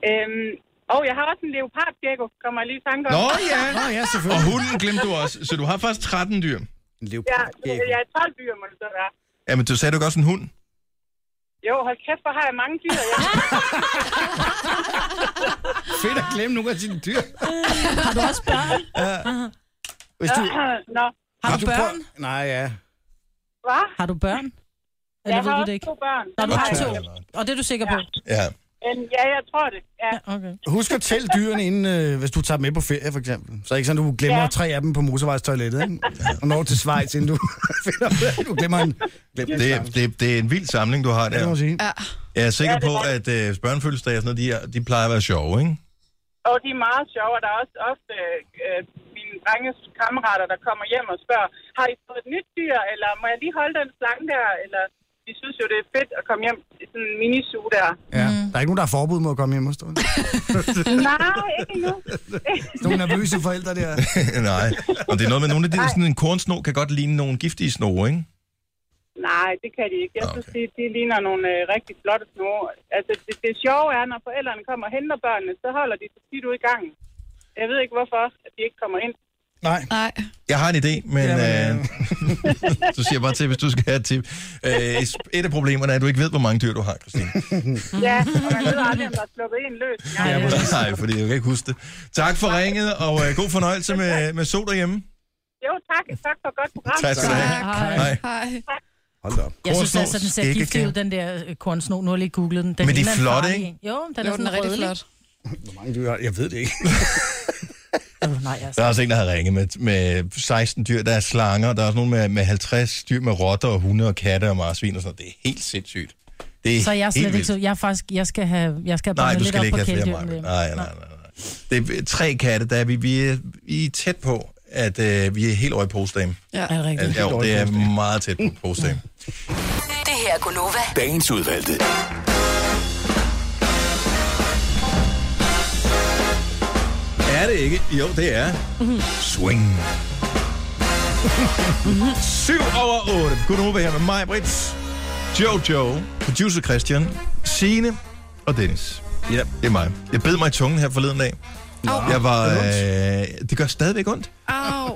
S16: Øhm, og jeg har også en leopardgecko, kommer jeg lige i tanke om.
S1: Nå ja.
S2: Nå ja,
S1: Og hunden glemte du også, så du har faktisk 13 dyr.
S2: En
S16: Ja, jeg er 12 dyr, må det så være.
S1: Jamen, du sagde du ikke også en hund?
S16: Jo, hold kæft, hvor har jeg mange dyr. Jeg
S2: Fedt at glemme nogle af dine dyr.
S5: Har du også børn?
S2: Ja. Hvis du...
S16: Nå.
S5: Har du børn?
S2: Prøv... Nej, ja.
S16: Hvad?
S5: Har du børn?
S16: Jeg
S5: Eller
S16: har
S5: ved du
S16: også
S5: det ikke?
S16: to børn.
S5: Nå, du har
S2: Okay.
S5: to. Og det er du sikker på?
S1: Ja.
S15: Men Øhm, ja, jeg tror det. Ja.
S5: Okay.
S2: Husk at tælle dyrene, inden, øh, hvis du tager dem med på ferie, for eksempel. Så er det ikke sådan, du glemmer
S15: Ja.
S2: ja. tre af dem på motorvejstoilettet, ikke? Og når til Schweiz, inden du finder ud af, at du glemmer en... Glem
S1: Det, er- det, er- det er en vild samling, du har der.
S2: det må man sige.
S3: Ja.
S1: Jeg er
S15: Ja,
S1: sikker
S15: det er
S1: på, at øh, børnefødselsdage og sådan noget, de, er- de plejer at være sjove, ikke?
S15: Og de er meget sjove, og der er også ofte øh, øh, mine drenges kammerater, der kommer hjem og spørger, har I fået et nyt dyr, eller må jeg lige holde den slange der, eller de synes jo, det er fedt at komme hjem i sådan en minisu der.
S2: Ja.
S5: Mm.
S2: Der er ikke nogen, der har forbud mod at komme hjem hos dig.
S15: Nej, ikke endnu.
S2: Nogle nervøse forældre der.
S1: Nej. Og det er noget med nogle af de der, sådan en kornsno kan godt ligne nogle giftige snore, ikke?
S15: Nej, det kan de ikke. Jeg synes, de, de ligner nogle øh, rigtig flotte snore. Altså, det, det sjove er, når forældrene kommer og henter børnene, så holder de sig tit ude i gangen. Jeg ved ikke, hvorfor at de ikke kommer ind.
S2: Nej.
S3: Nej.
S1: Jeg har en idé, men... Jamen, øh, du siger jeg bare til, hvis du skal have et tip. Øh, et af problemerne er, at du ikke ved, hvor mange dyr du har, Christine.
S15: Ja, og man ved aldrig, om der er sluppet en løs. Nej,
S1: Nej, fordi jeg kan ikke huske det. Tak for ringet, og øh, god fornøjelse med, med sol derhjemme.
S15: Jo, tak. Tak for et godt program.
S1: Tak skal du have. Hej.
S3: Hej.
S1: Hold da op.
S5: Jeg synes altså, den ser giftig ud, den der øh, kornsno. Nu har jeg lige googlet den. den
S1: Men de er
S5: ligner en
S1: flotte,
S5: farlig
S1: ikke?
S5: en. Jo, den
S3: Jo,
S5: er,
S3: den
S5: sådan
S3: er rigtig
S5: rødlig.
S3: flot.
S2: Hvor mange dyr har- Jeg ved det ikke.
S5: Åh, nej, altså.
S1: Der er også en, der har ringet med, med 16 dyr. Der er slanger, der er også nogle med, med 50 dyr med rotter og hunde og katte og marsvin og sådan noget. Det er helt sindssygt. Det er
S5: Så jeg er
S1: helt
S5: slet ikke
S1: vildt.
S5: så... Jeg, er faktisk, jeg skal have, jeg skal have
S1: Nej,
S5: bundet
S1: du
S5: lidt
S1: skal
S5: op
S1: ikke
S5: på
S1: have flere mig.
S5: kæledyr.
S1: Nej, nej, nej, nej. Det er tre katte, der er vi, vi, er, vi er tæt på, at øh, vi er helt over i postdame.
S3: Ja.
S5: Er det rigtigt?
S1: Altså, jo, det er meget tæt på postdame.
S11: Det her er Gunova.
S7: Dagens udvalgte.
S1: Er det ikke? Jo, det er.
S5: Mhm.
S1: Swing. 7 over 8. Godnova her med mig, Brits, Jojo, producer Christian, Sine og Dennis. Ja, det er mig. Jeg bed mig i tungen her forleden dag. Jeg var...
S5: Det
S1: Øh,
S5: er
S1: det gør stadigvæk ondt.
S3: Au.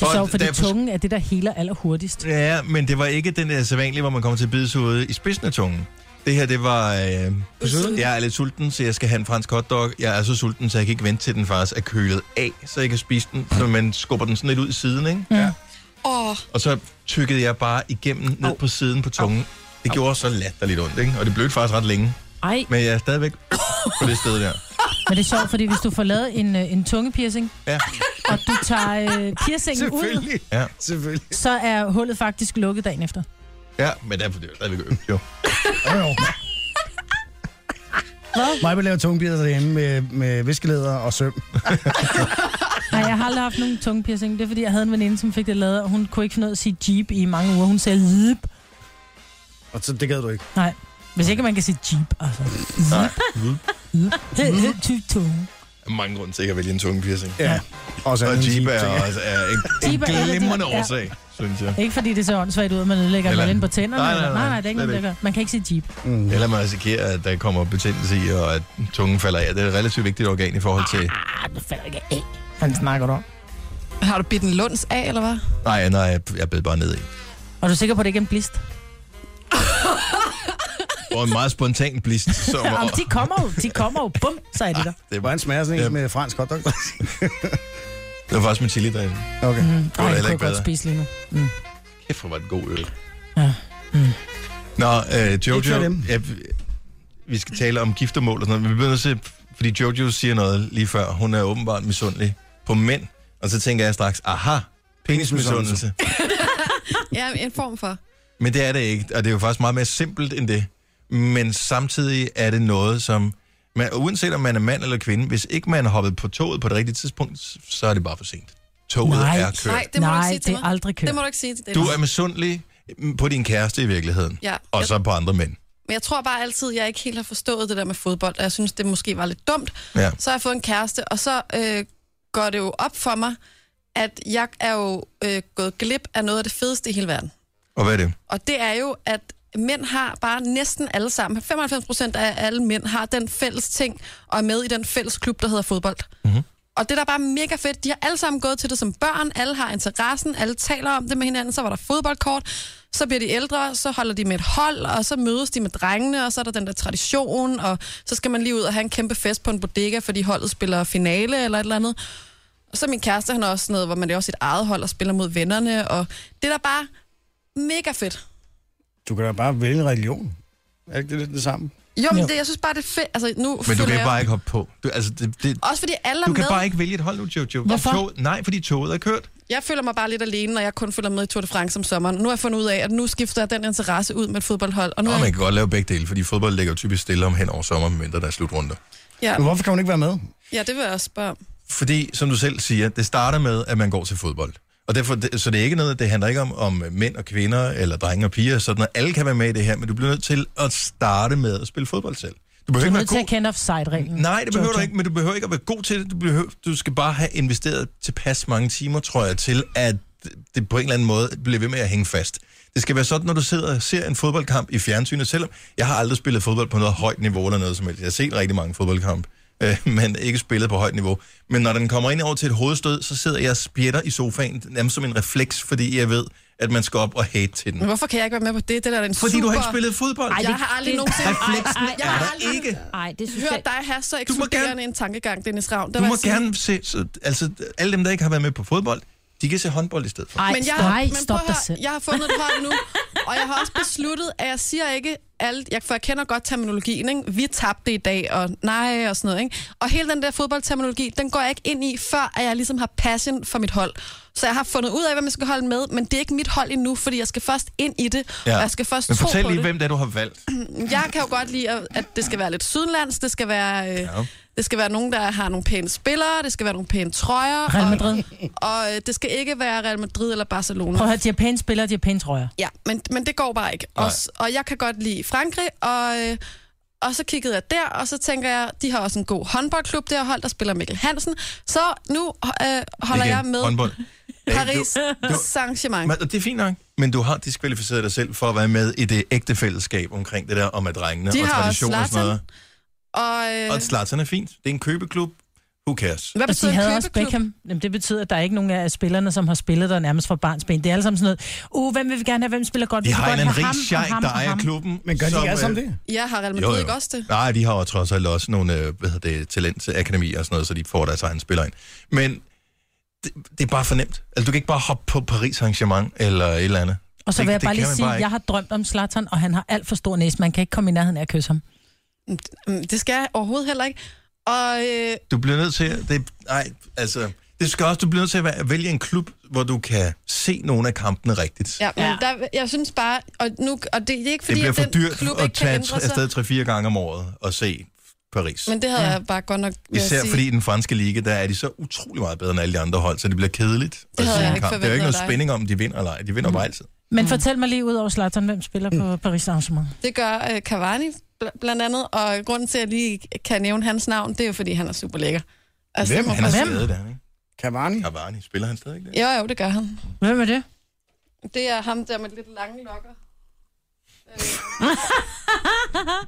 S5: Du
S1: Og
S5: så for
S1: da
S5: det
S1: jeg fors-
S5: tungen er det, der heler allerhurtigst.
S1: Ja, men det var ikke den der sædvanlige, hvor man kommer til at bide sig ude i spidsen af tungen. Det her, det var... Øh, jeg er lidt sulten, så jeg skal have en fransk hotdog. Jeg er så sulten, så jeg kan ikke vente til den faktisk er kølet af, så jeg kan spise den. Så man skubber den sådan lidt ud i siden, ikke? Ja.
S3: Åh,
S1: Og så tykkede jeg bare igennem ned på siden på tungen. Det gjorde så latterligt ondt, ikke? Og det blødte faktisk ret længe.
S5: Ej,
S1: Men jeg er stadigvæk på det sted der.
S5: men det er sjovt, fordi hvis du får lavet en, øh, en tungepiercing,
S1: Ja,
S5: og du tager øh, piercingen ud,
S2: Selvfølgelig.
S1: ja,
S2: Selvfølgelig.
S5: så er hullet faktisk lukket dagen efter.
S1: ja. Men derfor, det er jo stadigvæk ømt, jo.
S2: Mig vil lave tungebider derhjemme med, med viskelæder og søm.
S5: Nej, jeg har aldrig haft nogen tungepiercing. Det er, fordi jeg havde en veninde, som fik det lavet, og hun kunne ikke finde ud af at sige jeep i mange uger. Hun sagde jeep.
S2: Og så, det gad du ikke.
S5: Nej, hvis ikke man kan sige jeep, altså.
S1: Nej.
S5: Jeep.
S1: Mhm.
S5: Jeep. tunge.
S1: Der er mange grunde til ikke at vælge en tungepiercing.
S2: Ja. Også
S1: Og
S2: andet
S1: Jeep er,
S2: ting.
S1: også, er en, en
S5: Jeep er en af de-
S1: glimrende
S5: ja.
S1: årsag, synes jeg.
S5: Ikke fordi det ser åndssvagt ud, at man ødelægger
S1: Eller-
S5: eller... på tænderne.
S1: Nej, nej,
S5: eller-
S1: nej,
S5: nej, nej, det er ikke
S1: slet
S5: noget, der gør. Man kan ikke sige jeep.
S2: Mm.
S1: Eller man risikerer, at der kommer betændelse i, og at tungen falder af. Det er et relativt vigtigt organ i forhold til...
S5: Ah, du falder ikke af. Han snakker du om.
S3: har du bidt en lunds af, eller hvad?
S1: Nej, nej, jeg- jeg bed bare ned i.
S5: Og du er sikker på, at det ikke er en blist?
S1: Og en meget spontan blist, som...
S5: Om de kommer jo, de kommer jo. Bum, så er det der.
S1: Det var,
S2: Hvordan smager sådan en
S1: Ja.
S2: med fransk hotdog?
S1: det var faktisk med chili -dræsen.
S2: Okay.
S5: Mm.
S1: heller
S5: Ej, det
S1: ikke
S5: kunne jeg godt
S1: bedre.
S5: spise lige nu. Mm.
S1: Kæft, hvor var det en god øl.
S5: Ja.
S1: Nå, øh,
S2: Ikke for
S1: Jojo,
S2: dem.
S1: ja, vi skal tale om giftermål og sådan noget, men vi bliver nødt til, fordi Jojo siger noget lige før, hun er åbenbart misundelig på mænd, og så tænker jeg straks, aha, penismisundelse.
S3: Ja, en form for.
S1: Men det er det ikke, og det er jo faktisk meget mere simpelt end det, men samtidig er det noget, som, man, uanset om man er mand eller kvinde, hvis ikke man er hoppet på toget på det rigtige tidspunkt, så er det bare for sent. Toget
S5: Nej.
S1: er kørt.
S3: Nej, det må du
S5: Nej,
S3: ikke sige til
S5: det er
S3: mig.
S5: aldrig kørt.
S3: Det må du ikke sige til det.
S1: Du er misundelig på din kæreste i virkeligheden,
S3: Ja.
S1: og så på andre mænd.
S3: Men jeg tror bare altid, jeg ikke helt har forstået det der med fodbold, og jeg synes, det måske var lidt dumt.
S1: Ja.
S3: Så har jeg fået en kæreste, og så øh, går det jo op for mig, at jeg er jo øh, gået glip af noget af det fedeste i hele verden.
S1: Og hvad er det?
S3: Og det er jo, at mænd har bare næsten alle sammen, 95 procent af alle mænd har den fælles ting, og er med i den fælles klub, der hedder fodbold.
S1: Mhm.
S3: Og det der er bare mega fedt, de har alle sammen gået til det som børn, alle har interessen, alle taler om det med hinanden, så var der fodboldkort, så bliver de ældre, så holder de med et hold, og så mødes de med drengene, og så er der den der tradition, og så skal man lige ud og have en kæmpe fest på en bodega, fordi holdet spiller finale eller et eller andet. Og så min kæreste, han er også sådan noget, hvor man det er også sit eget hold og spiller mod vennerne, og det er da bare mega fedt.
S2: Du kan da bare vælge religion. Er ikke det lidt det samme?
S3: Jo, men det, jeg synes bare, det er fedt. Altså, nu
S1: Men du
S3: føler
S1: kan
S3: jeg-
S1: bare ikke hoppe på. Du, altså, det, det,
S3: Også fordi alle er
S1: du kan
S3: med.
S1: bare ikke vælge et hold nu, Jojo.
S3: Hvorfor?
S1: Toget, nej, fordi toget er kørt.
S3: Jeg føler mig bare lidt alene, når jeg kun følger med i Tour de France om sommeren. Nu har jeg fundet ud af, at nu skifter jeg den interesse ud med et fodboldhold. Og nu
S1: Nå,
S3: er
S1: man
S3: jeg...
S1: kan godt lave begge dele, fordi fodbold ligger jo typisk stille om hen over sommer, medmindre der er slutrunder.
S3: ja.
S2: Men hvorfor kan hun ikke være med?
S3: ja, det vil jeg også spørge om.
S1: Fordi, som du selv siger, det starter med, at man går til fodbold. Og derfor, det, så det er ikke noget, det handler ikke om, om mænd og kvinder, eller drenge og piger, og sådan noget. Alle kan være med i det her, men du bliver nødt til at starte med at spille fodbold selv. Du
S5: Du
S1: behøver
S5: er
S1: ikke være
S5: nødt til
S1: god.
S5: at kende offside-reglen.
S1: Nej, det behøver
S5: Jojo.
S1: du ikke, men du behøver ikke at være god til det. Du, behøver, du skal bare have investeret tilpas mange timer, tror jeg, til at det på en eller anden måde bliver ved med at hænge fast. Det skal være sådan, når du sidder og ser en fodboldkamp i fjernsynet, selvom jeg har aldrig spillet fodbold på noget højt niveau eller noget som helst. Jeg har set rigtig mange fodboldkampe, øh, men ikke spillet på højt niveau. Men når den kommer ind over til et hovedstød, så sidder jeg og spjætter i sofaen, nærmest som en refleks, fordi jeg ved, at man skal op og hate til den.
S3: Men hvorfor kan jeg ikke være med på det? Det der er da en
S1: Fordi
S3: super...
S1: du har ikke spillet fodbold.
S3: Ej, jeg har aldrig
S1: det-
S3: nogensinde...
S1: Refleksen
S3: jeg
S1: er der
S3: har aldrig
S1: ikke.
S4: Nej, det synes
S3: hørt
S4: jeg-
S3: dig have så eksploderende gerne... en tankegang, Dennis Ravn. Der
S1: Du
S3: vil
S1: må
S3: jeg sige-
S1: gerne se, så, altså alle dem, der ikke har været med på fodbold, de kan se håndbold i stedet for.
S3: men jeg,
S5: stop.
S3: har-
S5: Ej,
S3: men
S5: stop
S3: prøv at
S5: dig
S3: høre,
S5: selv.
S3: Jeg har fundet et hold nu, og jeg har også besluttet, at jeg siger ikke alt, jeg, for jeg kender godt terminologien, ikke? vi tabte i dag, og nej, og sådan noget. Ikke? Og hele den der fodboldterminologi, den går jeg ikke ind i, før at jeg ligesom har passion for mit hold. Så jeg har fundet ud af, hvad man skal holde med, men det er ikke mit hold endnu, fordi jeg skal først ind i det, ja. og jeg skal først
S1: Men
S3: tro
S1: fortæl
S3: på
S1: lige,
S3: det.
S1: hvem det er, du har valgt.
S3: Jeg kan jo godt lide, at- at det skal være lidt sydenlands, det skal være... Øh, ja. Det skal være nogen, der har nogle pæne spillere, det skal være nogle pæne trøjer.
S5: Real Madrid.
S3: Og, og øh, det skal ikke være Real Madrid eller Barcelona.
S5: Prøv at høre, de har pæne spillere, de har pæne trøjer.
S3: Ja, men, men det går bare ikke. Og, s- og jeg kan godt lide Frankrig, og, øh, og så kiggede jeg der, og så tænker jeg, de har også en god håndboldklub der hold, der spiller Mikkel Hansen. Så nu øh, holder
S1: Igen,
S3: jeg med
S1: Håndbold.
S3: Paris
S1: Du- du-
S3: Saint-Germain.
S1: Men, og det er fint nok, men du har diskvalificeret dig selv for at være med i det ægte fællesskab omkring det der om at drengene
S3: De
S1: og
S3: har også
S1: tradition og sådan noget.
S3: Og, øh,
S1: Og Zlatan er fint. Det er en købeklub. Who cares?
S3: Hvad
S5: Altså,
S3: betyder
S5: de
S3: en
S5: havde også
S3: købeklub?
S5: Beckham. Jamen, det betyder, at der er ikke nogen af spillerne, som har spillet der nærmest fra barnsben. Det er alle sammen sådan noget, uh, hvem vil vi gerne have, hvem spiller godt?
S1: Vi
S5: vil
S1: har
S5: godt
S1: en
S5: have
S1: rig
S5: ham og
S1: sheik,
S5: ham
S1: der
S5: og
S1: ejer
S5: ham."
S1: klubben. øh,
S2: Men gør de ikke alle sammen det?
S3: ja, har Real Madrid ikke også det?
S1: Nej, de har jo trods alt også nogle øh, hvad hedder det, talentakademier og sådan noget, så de får deres egen spiller ind. Men det, det er bare for nemt. Altså, du kan ikke bare hoppe på Paris Saint-Germain eller et eller andet.
S5: Og så
S1: Det-
S5: vil jeg
S1: det
S5: bare
S1: kan
S5: lige
S1: man
S5: sige, at
S1: ikke.
S5: jeg har drømt om Zlatan, og han har alt for stor næse. Man kan ikke komme i nærheden af at kysse ham.
S3: Mm, Det skal jeg overhovedet heller ikke. Og øh,
S1: Du bliver nødt til at... Det, nej, altså... Det skal også, du bliver nødt til at væ- vælge en klub, hvor du kan se nogle af kampene rigtigt.
S3: ja, men ja. Der, jeg synes bare, og, nu, og det, det er ikke
S1: det
S3: fordi,
S1: bliver
S3: at
S1: for
S3: den
S1: dyrt
S3: klub
S1: at
S3: ikke kan
S1: tage
S3: ændre
S1: tre-
S3: sig,
S1: afsted 3-4 gange om året og se Paris.
S3: men det havde jeg bare godt nok... vil jeg
S1: Især
S3: sige.
S1: fordi i den franske liga, der er de så utrolig meget bedre end alle de andre hold, så det bliver kedeligt
S3: Det havde
S1: se
S3: jeg
S1: en
S3: ikke
S1: kamp. Det er jo
S3: forventet
S1: ikke noget
S3: af dig.
S1: spænding om, de vinder eller ej. De vinder bare altid.
S5: Men mm. fortæl mig lige ud over Zlatan, hvem spiller
S3: Mm.
S5: på Paris Saint-Germain?
S3: Det gør øh, Cavani bl- blandt andet, og grunden til, at jeg lige kan nævne hans navn, det er jo, fordi han er super lækker.
S1: Hvem?
S3: må
S1: Han er
S3: bare-
S1: skadet, er han ikke?
S2: Cavani?
S1: Cavani. Spiller han stadig ikke det?
S3: Jo, jo, det gør han.
S5: Hvem er det?
S3: Det er ham der med lidt lange lokker.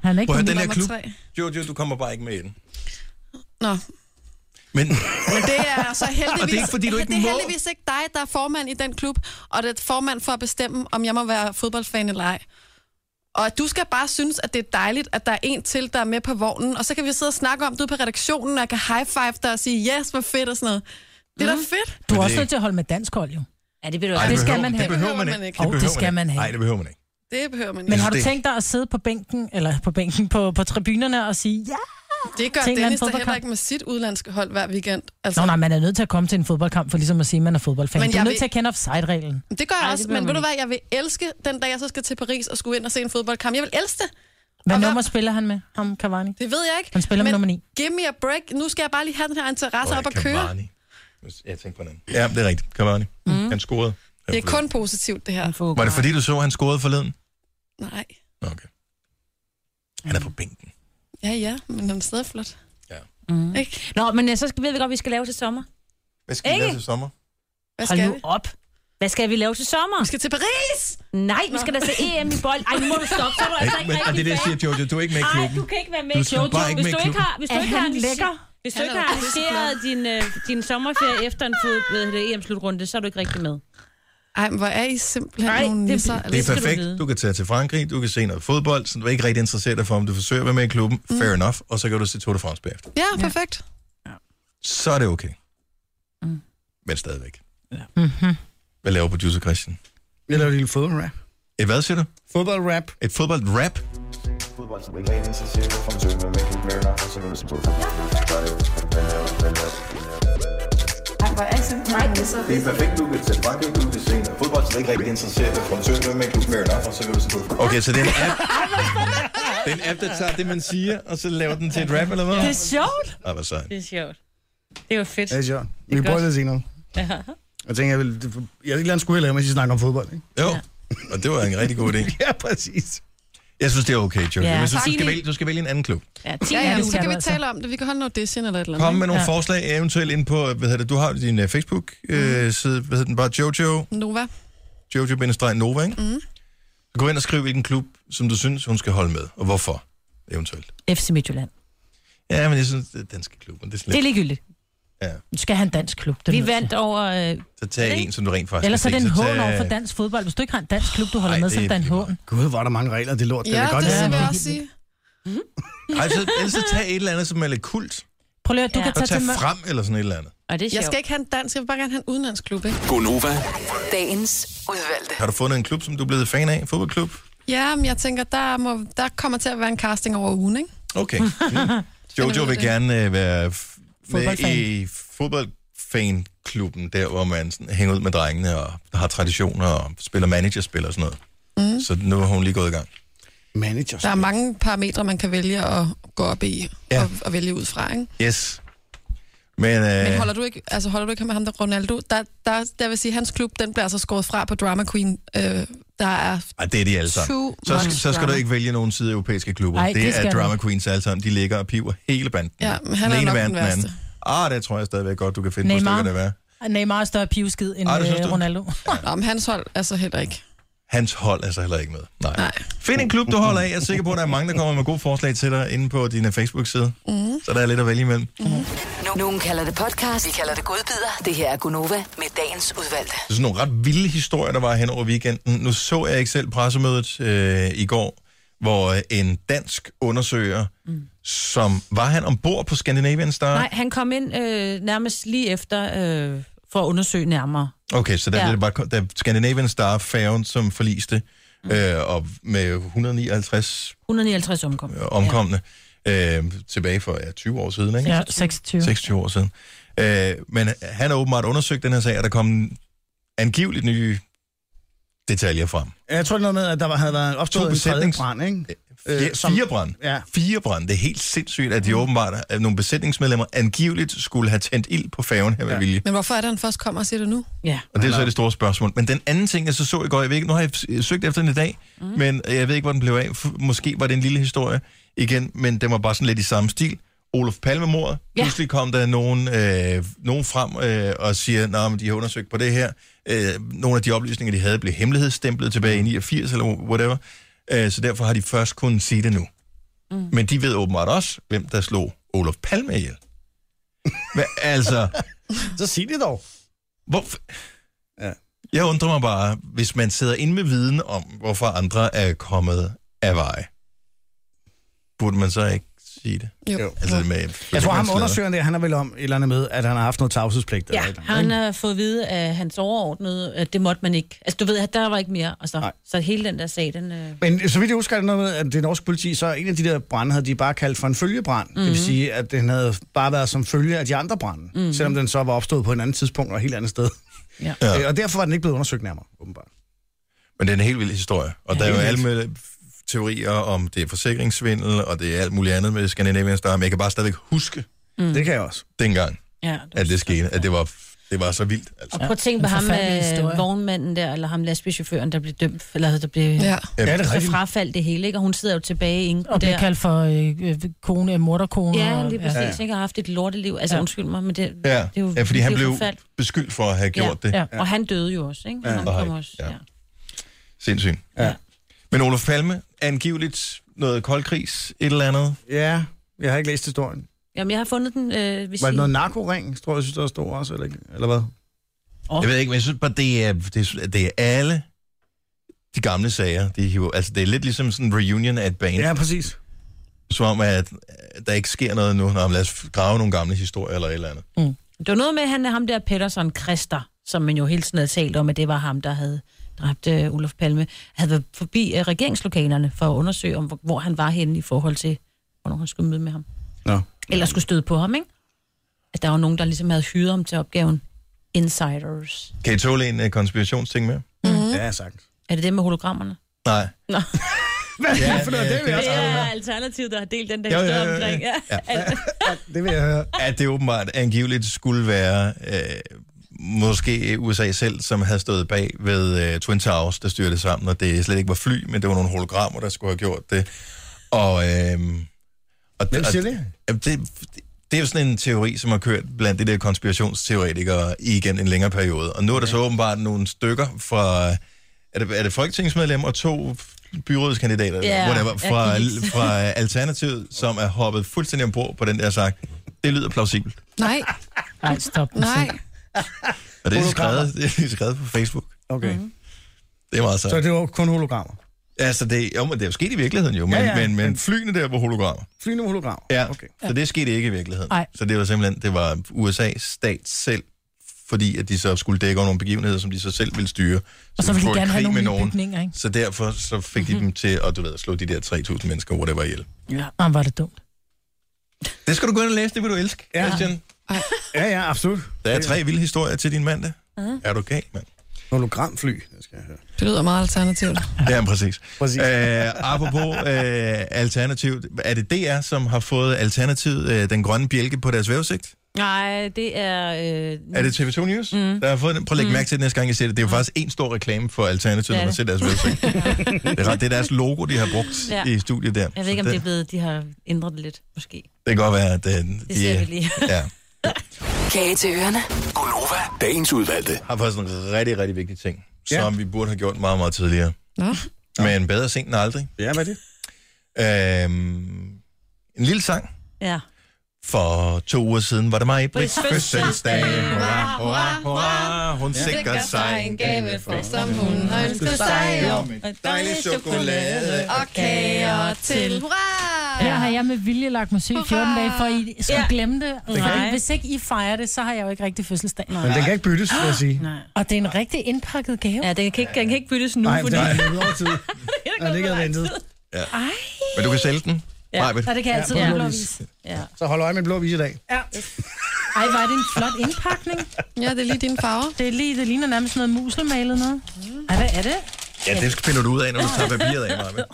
S5: Han er ikke
S1: Prøv at
S5: den
S1: høre, den
S5: lille
S1: her klub.
S3: nummer
S1: Jojo, du kommer bare ikke med i den.
S3: Nå,
S1: Men
S3: men det er så heldigvis,
S1: Og det er ikke, fordi du ikke
S3: det
S1: må.
S3: er heldigvis ikke dig, der er formand i den klub, og det er formand for at bestemme, om jeg må være fodboldfan eller ej. Og du skal bare synes, at det er dejligt, at der er en til, der er med på vognen, og så kan vi sidde og snakke om det ude på redaktionen, og jeg kan high-five dig og sige, yes, hvor fedt og sådan noget. Det er da fedt.
S5: Mhm. Du er
S1: Men
S5: også
S1: det-
S5: nødt til at holde med dansk hold, jo.
S4: Ja, det vil du
S1: Ej,
S5: det skal
S1: behøver-
S5: man have.
S1: Det behøver man ikke.
S5: Åh, det
S1: behøver
S5: skal man
S1: ikke.
S5: have.
S1: Nej, det behøver man ikke.
S3: Det behøver man
S5: Men
S3: ikke.
S5: har du
S1: det-
S5: tænkt dig at sidde på bænken, eller på bænken, på, på tribunerne og sige, ja,
S3: Det gør
S5: til en eller anden
S3: Dennis da heller
S5: fodboldkamp?
S3: ikke med sit udlandske hold hver weekend. Altså,
S5: Nå nej, man er nødt til at komme til en fodboldkamp, for ligesom at sige, at man er fodboldfan.
S3: Men
S5: Men du er
S3: jeg
S5: nødt
S3: vil-
S5: til at kende offside-reglen.
S3: Det gør jeg
S5: Ej,
S3: også,
S5: det
S3: men
S5: behøver
S3: ved du
S5: man
S3: hvad, jeg vil elske den dag, jeg så skal til Paris og skulle ind og se en fodboldkamp. Jeg vil elske det.
S5: Hvad
S3: Og hvad-
S5: nummer spiller han med, ham Cavani?
S3: Det ved jeg ikke.
S5: Han spiller med
S3: men
S5: nummer ni.
S3: Give me a break. Nu skal jeg bare lige have den her interesse op at køre.
S1: Cavani. Jeg tænkte på den. Ja, det er rigtigt. Cavani. Mm. Han scorede.
S3: Det er kun positivt, det her.
S1: Var det fordi, du så, at han scorede forleden?
S3: Nej.
S1: Nå, Okay.
S4: Mm.
S1: Han er på bænken.
S3: Ja, ja, men den er stadig flot.
S1: Ja.
S3: Mm. Ikke?
S4: Nå, men øh, så skal, ved vi godt, hvad vi skal lave til sommer.
S1: Hvad skal vi
S4: Ikke?
S1: lave til sommer?
S3: Hvad
S4: Hold
S3: skal
S4: nu
S3: vi?
S4: op. Hvad skal vi lave til sommer?
S3: Vi skal til Paris!
S4: Nej, vi skal da se EM i bold. Ej, nu må du stoppe, så er du altså
S1: Ej,
S4: ikke
S1: men, og det er
S4: rigtig
S1: det, jeg siger, Jojo. Du er ikke med i
S4: Ej,
S1: klubben.
S4: du kan ikke være med
S1: Du
S4: i
S1: skal
S4: Jojo.
S1: bare ikke
S4: Hvis
S1: med
S4: du
S1: i
S4: ikke har, hvis du
S5: Er
S4: ikke har
S5: han
S4: arrange-
S5: lækker?
S4: Hvis du
S3: Han
S4: ikke
S3: er Ah.
S4: har
S3: pisseflot.
S4: arrangeret din, øh, din sommerferie efter en fod, hvad hedder det, EM-slutrunde, så er du ikke rigtig med.
S3: Ej, men hvor er I simpelthen
S4: Nej,
S3: Ej, nogle
S4: det-
S3: nisser.
S1: Det
S4: Det
S1: er
S4: skal du
S1: perfekt.
S4: vide.
S1: Du kan tage til Frankrig, du kan se noget fodbold, så du er ikke rigtig interesseret dig for, om du forsøger at være med i klubben.
S4: Mm.
S1: Fair enough. Og så kan du se Tour de France bagefter.
S3: Ja, perfekt.
S1: Så er det okay.
S4: Mm.
S1: Men stadigvæk.
S5: Mm-hmm.
S1: Hvad laver producer Christian?
S2: Jeg laver et lille fodboldrap.
S1: Et hvad siger du?
S2: Fodboldrap.
S1: Et fodboldrap?
S17: Ej, hvor er I simpelthen så
S18: Det er perfekt, du kan tage brække, du kan se, når fodbold er ikke rigtig interesseret, fra Sønder med klub Mørner, og så vil du se
S1: Okay, så det er en app. det er en app, der tager det, man siger, og så laver den til et rap, eller hvad? Ah,
S4: Det er sjovt.
S1: Ej, hvor sejt.
S4: Det er sjovt. Det var fedt.
S2: Det er sjovt. Vi
S4: er
S2: kan prøve
S4: godt.
S2: det senere.
S4: Ja.
S2: Jeg tænker, jeg vil... det- Jeg vil gerne skulle lave, mens I snakker om fodbold, ikke?
S1: Jo, og det var en rigtig god idé.
S2: ja, præcis.
S1: Jeg synes, det er okay, Jojo.
S2: Ja,
S1: Men jeg synes, du
S2: tak.
S1: skal, vælge, du skal vælge en anden klub.
S3: Ja,
S4: ti
S3: ja,
S4: er
S3: ja,
S4: det
S3: så
S4: skal
S3: kan
S4: du
S3: vi
S4: altså.
S3: tale om det. Vi kan holde noget Disney eller et eller andet.
S1: Kom med
S3: ikke?
S1: nogle
S3: ja.
S1: forslag, eventuelt ind på, hvad hedder det, du har din øh, Facebook-side, hvad hedder den bare, Jojo,
S3: Nova.
S1: Jojo-Nova, ikke?
S3: Mm.
S1: Så Gå ind og skriv, hvilken klub, som du synes, hun skal holde med, og hvorfor, eventuelt.
S4: FC Midtjylland.
S1: Ja, men jeg synes, det er danske klubber. Det er,
S4: Det er ligegyldigt.
S1: Ja.
S5: Nu skal han dansk klub. Det er
S4: Vi
S5: nødt til.
S4: vandt over... Øh,
S1: Så tag en, som du rent faktisk
S5: Ellers så er
S1: kan
S5: det en
S1: se,
S5: hån
S1: tag-
S5: over for dansk fodbold. Hvis du ikke har en dansk klub, du holder
S1: Ej,
S5: med,
S1: det
S5: så er
S1: er
S5: det da en hån.
S2: Gud, hvor er der mange regler, det lort.
S5: Ja,
S2: kan godt
S5: det
S2: være.
S5: vil jeg
S3: Jeg sige.
S1: Ej, så, ellers så tag et eller andet, som er lidt kult.
S5: Prøv lige,
S1: Du kan tage, tage frem, eller sådan et eller andet.
S4: Og det
S3: er jeg skal ikke have en dansk, jeg vil bare gerne have en udenlandsk klub, ikke?
S1: Gonova.
S3: Dagens udvalgte.
S1: Har du fundet en klub, som du er blevet fan af? En fodboldklub?
S3: Ja, men jeg tænker, der, må, der kommer til at være en casting over ugen, ikke?
S1: Okay. Mm. Jojo vil gerne øh, være f- med
S3: Fodboldfan.
S1: i fodboldfanklubben, der hvor man sådan, hænger ud med drengene og har traditioner og spiller managerspil og sådan noget.
S3: Mm.
S1: Så nu har hun lige gået i gang.
S2: Manager?
S3: Der er mange parametre, man kan vælge at gå op i ja. og, og vælge ud fra, ikke?
S1: Yes. Men, øh,
S3: Men holder du ikke, altså holder du ikke med ham der Ronaldo? Der, der, der vil sige, hans klub, den bliver altså skåret fra på Drama Queen. Øh, der er...
S1: Ej, det er de alle sammen.
S3: Too
S1: Så,
S3: much
S1: så skal du
S3: drama.
S1: ikke vælge nogen side europæiske klubber.
S3: Ej,
S1: Ej, det,
S3: det skal
S1: er
S3: du.
S1: drama queens alle sammen. De ligger og piver hele banden.
S5: Ja, men han er
S1: ene
S5: nok
S1: værre
S5: den
S1: end anden. Ah, det tror jeg stadigvæk godt, du kan finde på
S5: Neymar.
S1: stykker, der være.
S5: Og Neymar er større pivskid end
S1: Ej, det synes
S5: øh,
S1: du?
S5: Ronaldo.
S3: Nå, men hans hold altså heller ikke.
S1: Hans hold er så heller ikke med. Nej. Nej. Find en klub, du holder af. Jeg er sikker på, at der er mange, der kommer med gode forslag til dig inde på din øh, Facebook-side.
S11: Mhm.
S1: Så der er lidt at vælge imellem.
S11: No- Nogen kalder det podcast, vi kalder det godbider. Det her er Gunova med dagens udvalgte.
S1: Det er sådan nogle ret vilde historier, der var hen over weekenden. Nu så jeg ikke selv pressemødet øh, i går, hvor øh, en dansk undersøger, mm. som var han ombord på Scandinavian Star?
S4: Nej, han kom ind øh, nærmest lige efter øh, for at undersøge nærmere.
S1: Okay, så der,
S4: Ja.
S1: ja. det bare, kom- der er Scandinavian Star færgen, som forliste, mm. øh, og med 159
S4: 159 omkom.
S1: omkomne øh, tilbage for ja, 20 år siden, ikke?
S5: Ja, 26.
S1: 26 år siden. Øh, men han har åbenbart undersøgt den her sag, og der kom angiveligt nye detaljer frem.
S2: Jeg tror det er noget med, at der var- havde været opstået en
S1: besætnings-
S2: tredjebrand, ikke?
S1: Øh, fire,
S2: som-
S1: fire brand.
S2: Ja.
S1: Fire brand. Det er helt sindssygt, at de åbenbart, at nogle besætningsmedlemmer angiveligt skulle have tændt ild på færgen her med ja. vilje.
S3: Men hvorfor er det, han først kommer og siger det nu?
S4: Ja.
S1: Og det er så det store spørgsmål. Men den anden ting, jeg så så i går, jeg ved ikke, nu har jeg f- søgt efter den i dag, mm. men jeg ved ikke, hvor den blev af. F- Måske var det en lille historie igen, men den var bare sådan lidt i samme stil. Olof Palme-mordet.
S19: Ja.
S1: Ja. Pludselig kom der nogen, øh, nogen frem øh, og siger, at de har undersøgt på det her. Øh, nogle af de oplysninger, de havde, blev hemmelighedsstemplet tilbage i 89 eller whatever. Øh, så derfor har de først kunnet sige det nu. Mm. Men de ved åbenbart også, hvem der slog Olof Palme ihjel. Hvad, altså...
S2: Så sig det dog.
S1: Hvorfor? Ja. Jeg undrer mig bare, hvis man sidder inde med viden om, hvorfor andre er kommet af vej, burde man så ikke sige det?
S3: Jo.
S1: Altså, med,
S2: Jeg tror, ham
S1: man
S2: undersøgeren der, han er vel om et eller andet med, at han har haft noget tavshedspligt. eller et
S4: Ja,
S2: eller andet,
S4: han
S2: ikke?
S4: har fået at vide af hans overordnede, at det måtte man ikke. Altså, du ved, at der var ikke mere. Og så, så hele den der sag, den... Øh...
S2: Men så vidt jeg husker, er det noget med, at det norske politi, så en af de der brænde havde de bare kaldt for en følgebrand. Mm-hmm. Det vil
S4: Mhm.
S2: sige, at den havde bare været som følge af de andre brænde,
S4: Mhm.
S2: mm-hmm. selvom den så var opstået på et andet tidspunkt og et helt andet sted.
S4: Ja.
S2: Ja. Og derfor var den ikke blevet undersøgt nærmere, åbenbart.
S1: Men det er en helt vild historie. Og ja, der er jo
S2: helt
S1: alle med teorier om, det er forsikringssvindel, og det er alt muligt andet med Scandinavian Star, men jeg kan bare stadigvæk huske
S2: Mm. Det kan jeg også.
S1: dengang,
S4: Ja,
S1: at det skete, at det var, det var så vildt. Altså.
S4: Og prøv at tænke på ham, øh, vognmanden der, eller ham lastbilchaufføren, der blev dømt, eller der blev
S3: ja.
S1: Ja, det er
S4: så
S1: rigtigt.
S4: frafaldt det hele, ikke? Og hun sidder jo tilbage i inken
S5: Og bliver
S4: der.
S5: kaldt for øh, øh, kone, morderkone.
S4: Ja,
S5: og-
S4: lige præcis,
S1: Ja,
S4: ja,
S1: ja.
S4: ja. ikke? Og har haft et lorteliv. Altså,
S5: Ja.
S4: ja. undskyld mig, men det,
S1: Ja,
S4: det er jo,
S1: ja fordi han
S4: det er jo
S1: blev
S4: forfærdeligt.
S1: beskyldt for at have gjort
S4: ja.
S1: det.
S4: Ja. Og han døde jo også, ikke?
S1: Ja.
S4: Ja. Han
S1: Og
S4: kom
S1: har-
S4: også. Ja.
S1: Sindssygt.
S2: Ja.
S1: Men Olof Palme, angiveligt noget koldkrigs, et eller andet.
S2: Ja, jeg har ikke læst historien.
S4: Jamen, jeg har fundet den, øh, hvis
S2: Var det
S4: I-
S2: noget narkoring, tror jeg, synes, der stod også, eller, ikke? eller hvad?
S1: Jeg ved ikke, men jeg synes bare, det er, det, er- det er alle de gamle sager, de hiver. Altså, det er lidt ligesom sådan en reunion af et band.
S2: Ja, præcis.
S1: Som om, at øh, der ikke sker noget nu. Nå, men lad os grave nogle gamle historier eller et eller andet.
S4: Det var noget med, at han er ham der Peterson Christer, som man jo hele tiden havde talt om, at det var ham, der havde dræbte Olof Palme, havde været forbi øh, regeringslokalerne for at undersøge, om, hvor- hvor han var henne i forhold til, hvornår han skulle møde med ham.
S19: Nå.
S4: Eller skulle støde på ham, ikke? At der var nogen, der ligesom havde hyret ham til opgaven. Insiders.
S1: Kan I tåle en uh, konspirationsting med?
S4: Mm-hmm.
S19: Ja, sagt.
S4: Er det det med hologrammerne?
S1: Nej.
S4: Nå.
S2: Hvad er det for noget? Det vil jeg også
S4: det
S2: gerne
S4: er
S2: høre.
S4: Alternativet, der har delt den der
S1: Jo, jo,
S4: historie
S1: jo, jo.
S4: omkring. Ja.
S2: Det vil jeg høre.
S1: At det åbenbart angiveligt skulle være øh, måske USA selv, som havde stået bag ved øh, Twin Towers, der styrte sammen, og det slet ikke var fly, men det var nogle hologrammer, der skulle have gjort det. Og, øh, og,
S2: Hvem siger
S1: og-
S2: det?
S1: Jamen, det? Det er jo sådan en teori, som har kørt blandt de der konspirationsteoretikere igen en længere periode. Og nu er der så åbenbart nogle stykker fra... Er det, er det folketingsmedlem og to byrådskandidater,
S2: Ja,
S1: whatever, fra,
S2: jeg kan ikke.
S1: fra Alternativet, som er hoppet fuldstændig ombord på den der og sagt, det lyder plausibelt.
S3: Nej.
S5: Nej, stop.
S3: Nej.
S1: Og det er
S2: Hologrammer.
S1: skrevet, det er skrevet på Facebook.
S2: Okay.
S5: Mhm.
S1: Det er meget sejt.
S2: Så det var kun hologrammer?
S1: Altså, det, jo, men det er jo sket i virkeligheden jo, men,
S2: Ja,
S1: ja,
S2: ja, Ah,
S1: ja, men, men flyene der var hologrammer.
S2: Flyende hologrammer?
S1: Ja, okay. så det skete ikke i virkeligheden.
S2: Nej.
S1: Så det var simpelthen, det var USA's stat selv, fordi at de så skulle dække over nogle begivenheder, som de så selv ville styre.
S5: Og så
S1: de
S5: ville
S1: gå i
S5: de gerne
S1: krig
S5: have nogle
S1: med
S5: nye
S1: nogen.
S5: bygninger, ikke?
S1: Så derfor så fik de dem til at, du ved, at slå de der 3.000 mennesker, hvor det var ihjel.
S5: Ja. Ah, var det dumt.
S1: Det skal du gå ind og læse, det vil du elske,
S2: Ja.
S1: ja. Christian.
S2: Ja, ja, absolut.
S1: Der er tre vilde historier til din mandag.
S3: Mhm.
S1: Er du gal, mand?
S2: Hologramfly, det skal jeg høre.
S3: Det lyder meget alternativt.
S1: Ja, men præcis.
S2: Præcis.
S1: Øh, apropos øh, Alternativet, er det DR, som har fået Alternativet øh, den grønne bjælke på deres vævesigt?
S4: Nej, det er... Øh,
S1: Er det TV2 News, mm. der har fået den? Prøv at lægge mærke til det næste gang, I ser det. Det er jo faktisk en stor reklame for Alternativet, når
S4: Ja,
S1: man
S4: det.
S1: ser deres vævesigt. det, er, ret- det er deres logo, de har brugt
S4: Ja.
S1: ja. i studiet der.
S4: Jeg
S1: Så
S4: ved ikke, om
S1: den-
S4: det er blevet, de har ændret det lidt, måske.
S1: Det kan godt være, at den...
S4: Det ser vi lige.
S1: ja.
S11: Kage til ørerne.
S7: Gunova, dagens udvalgte.
S1: har faktisk en rigtig, rigtig vigtig ting, ja. som vi burde have gjort meget, meget tidligere.
S3: Nå.
S1: Men bedre sent end aldrig.
S2: Ja, hvad er det?
S1: Øhm, en lille sang.
S4: Ja.
S1: For to uger siden var det mig på
S3: Brits
S1: fødselsdag.
S3: fødselsdag.
S1: Hurra, hurra, hurra. Hun
S3: Ja.
S1: sikker sig en
S3: Øh,
S1: gave for,
S3: som hun har ønsket sig. Og dejlig chokolade og kager til. Hurra!
S5: Her har jeg med vilje lagt musik i 14 dage, for I skulle
S3: Ja.
S5: ja. glemme det.
S2: kan
S5: Nej.
S2: ikke-
S5: Hvis ikke I fejrer det, så har jeg jo ikke rigtig fødselsdag. Ah.
S2: Men den kan ikke byttes, vil jeg sige. Nej,
S5: Og det er en rigtig indpakket gave.
S4: Ja, den kan ikke, den kan ikke byttes nu,
S2: Nej
S4: fordi...
S2: det er løbet over tid. Og det ikke havde ventet.
S1: Men du kan sælge den.
S4: Ja.
S1: Majbrit.
S5: Og det kan jeg altid
S2: Ja,
S5: ja,
S2: blå
S5: blå
S2: vis.
S5: vis. Ja.
S2: Så hold øje med blå vis i dag.
S5: ja. Ej, var det en flot indpakning.
S3: Ja, det er lige dine farver.
S5: Det, er lige, det ligner nærmest noget muslimalet noget. Ej, hvad er det?
S1: Ja, det finder du ud af, når du tager papiret af, Majbrit.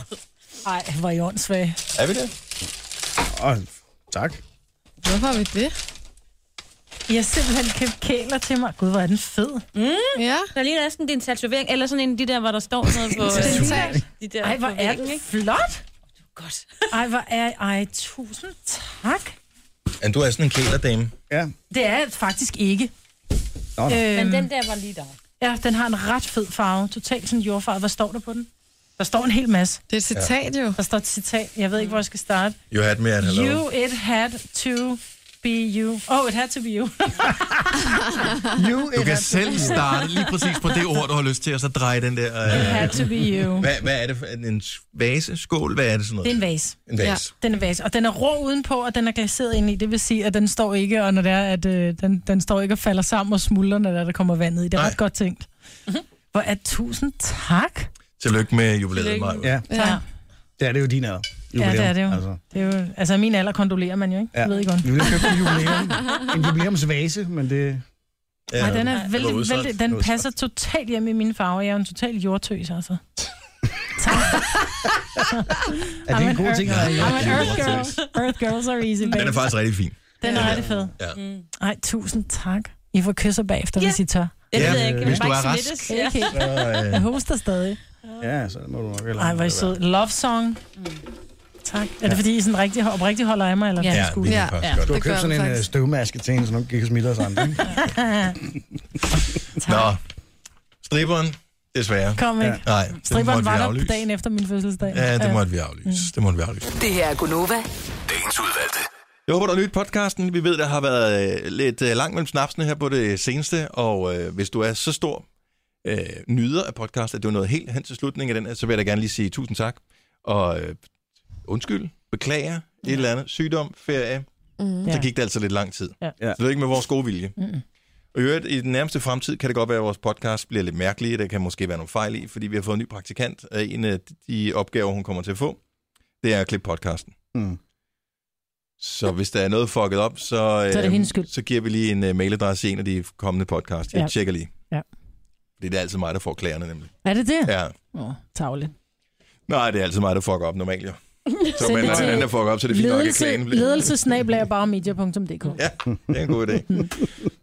S5: Ej, hvor er I åndssvage.
S1: Er vi det?
S2: Åh, tak.
S3: Hvorfor har vi det?
S5: I har simpelthen købt kæler til mig. Gud, hvor er den fed.
S4: Mm.
S3: Ja.
S4: Der ligner næsten, det er en tatovering, eller sådan en af de der, hvor der står noget på...
S5: Det
S4: øh,
S5: ligner-
S4: de der
S5: Ej, hvor
S4: på
S5: er
S4: væggen,
S5: den
S4: ikke?
S5: flot. Godt. Ej, hvor er... Ej, tusind tak.
S1: Men du er sådan en kælerdame.
S2: Ja.
S5: Det er jeg faktisk ikke. Øhm,
S1: Nå, nå.
S4: Men den der var lige dig.
S5: Ja, den har en ret fed farve. Totalt sådan jordfarve. Hvad står der på den? Der står en hel masse.
S3: Det er et citat jo.
S5: Der står et citat. Jeg ved ikke, hvor jeg skal starte.
S1: You had me at hello.
S5: You, it had to be you. Oh, it had to be you.
S2: you,
S1: Du kan selv starte lige præcis på det ord, du har lyst til, og så dreje den der... Øh...
S5: It had to be you.
S1: Hvad, hvad er det for en- en vase? Skål? Hvad er det sådan noget?
S5: Det er en vase.
S1: En vase.
S5: Den er vase. Og den er rå udenpå, og den er glaseret ind i. Det vil sige, at den står ikke, og når det er, at, øh, den, den står ikke og falder sammen og smuldrer, når der, der kommer vandet i. Det er ret godt tænkt. Hvor er tusind tak.
S1: Tillykke med jubilæet, Majbrit.
S2: Ja.
S5: Ja.
S2: Det er det jo din alder.
S5: Ja, det er det jo.
S2: Altså.
S5: Det er jo altså, i min alder kondolerer man jo, ikke?
S2: Ja.
S5: Ja. ved I godt.
S2: Vi ville købe en, jubilæum, en jubilæumsvase, men det...
S1: Ja,
S5: Ej, den er vældig, vældig, den passer totalt hjem i mine farver. Jeg er jo en total jordtøs, altså.
S2: Er det
S5: I'm
S2: en
S5: an
S2: god ting at have?
S5: earth- I'm an earth girl. Earth girls are easy, baby.
S1: Den er faktisk rigtig fin.
S5: Den er rigtig fed.
S1: Ja.
S5: Mm. Ej, tusind tak. I får kysser bagefter, hvis I tør.
S1: Det Ja, ved jeg ikke. hvis
S5: Hvis
S1: Jeg du bare er ikke rask. smittes.
S5: Okay.
S1: Ja.
S5: Jeg hoster stadig.
S2: øh, Ja, så må du nok heller.
S5: Ej, hvor er I sød. Love song. Tak. Er det fordi, I sådan rigtig, oprigtigt holder af mig? Eller
S2: Ja,
S5: hvad?
S2: det kan jeg
S5: Ja,
S2: godt. Du har
S5: det gør
S2: købt sådan
S5: vi
S2: en øh,
S5: faktisk.
S2: støvmaske til en, så nogen gik og smitter os andre. ikke?
S1: Nå, striberen, desværre.
S5: Kom ikke.
S1: Nej, den
S5: Stripperen
S1: måtte vi
S5: var der
S1: aflyse.
S5: dagen Mm. efter min fødselsdag.
S1: Ja, det måtte vi aflyse. Det måtte vi aflyse.
S11: Det her er Gunova.
S7: Dagens udvalgte.
S1: Jeg håber, du har nydt podcasten. Vi ved, der har været øh, lidt øh, langt mellem snapsene her på det seneste, og øh, hvis du er så stor øh, nyder af podcast, at det var noget helt hen til slutningen af den her, så vil jeg da gerne lige sige tusind tak, og øh, undskyld, beklager, et eller andet, sygdom, ferie,
S5: Mm.
S1: så gik det altså lidt lang tid.
S5: Ja.
S1: Så det er ikke med vores gode vilje.
S5: Mm.
S1: Og i øvrigt, i den nærmeste fremtid kan det godt være, at vores podcast bliver lidt mærkelig. Der kan måske være nogle fejl i, fordi vi har fået en ny praktikant. Og En af de opgaver, hun kommer til at få, det er at klippe podcasten.
S2: Mm.
S1: Så hvis der er noget fucket op, så,
S5: Så er det
S1: øh,
S5: hendes skyld.
S1: så giver vi lige en uh, mailadresse i en af de kommende podcast. Jeg
S5: Ja.
S1: tjekker lige.
S5: Ja.
S1: Fordi det er altid mig, der får klagerne nemlig.
S5: Er det det?
S1: Ja.
S5: Åh, oh, tavligt.
S1: Nej, det er altid mig, der fucker op normalt, jo. Så
S5: Send
S1: men
S5: det
S1: når
S5: til
S1: den anden, der fucker op, så er det fint nok, at klagen bliver...
S5: Ledelsesnabelagerbaromedia.dk
S1: Ja, det er en god idé.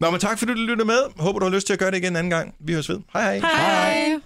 S1: Nå, men tak fordi du lyttede med. Håber, du har lyst til at gøre det igen en anden gang. Vi høres ved. Hej hej.
S5: Hej.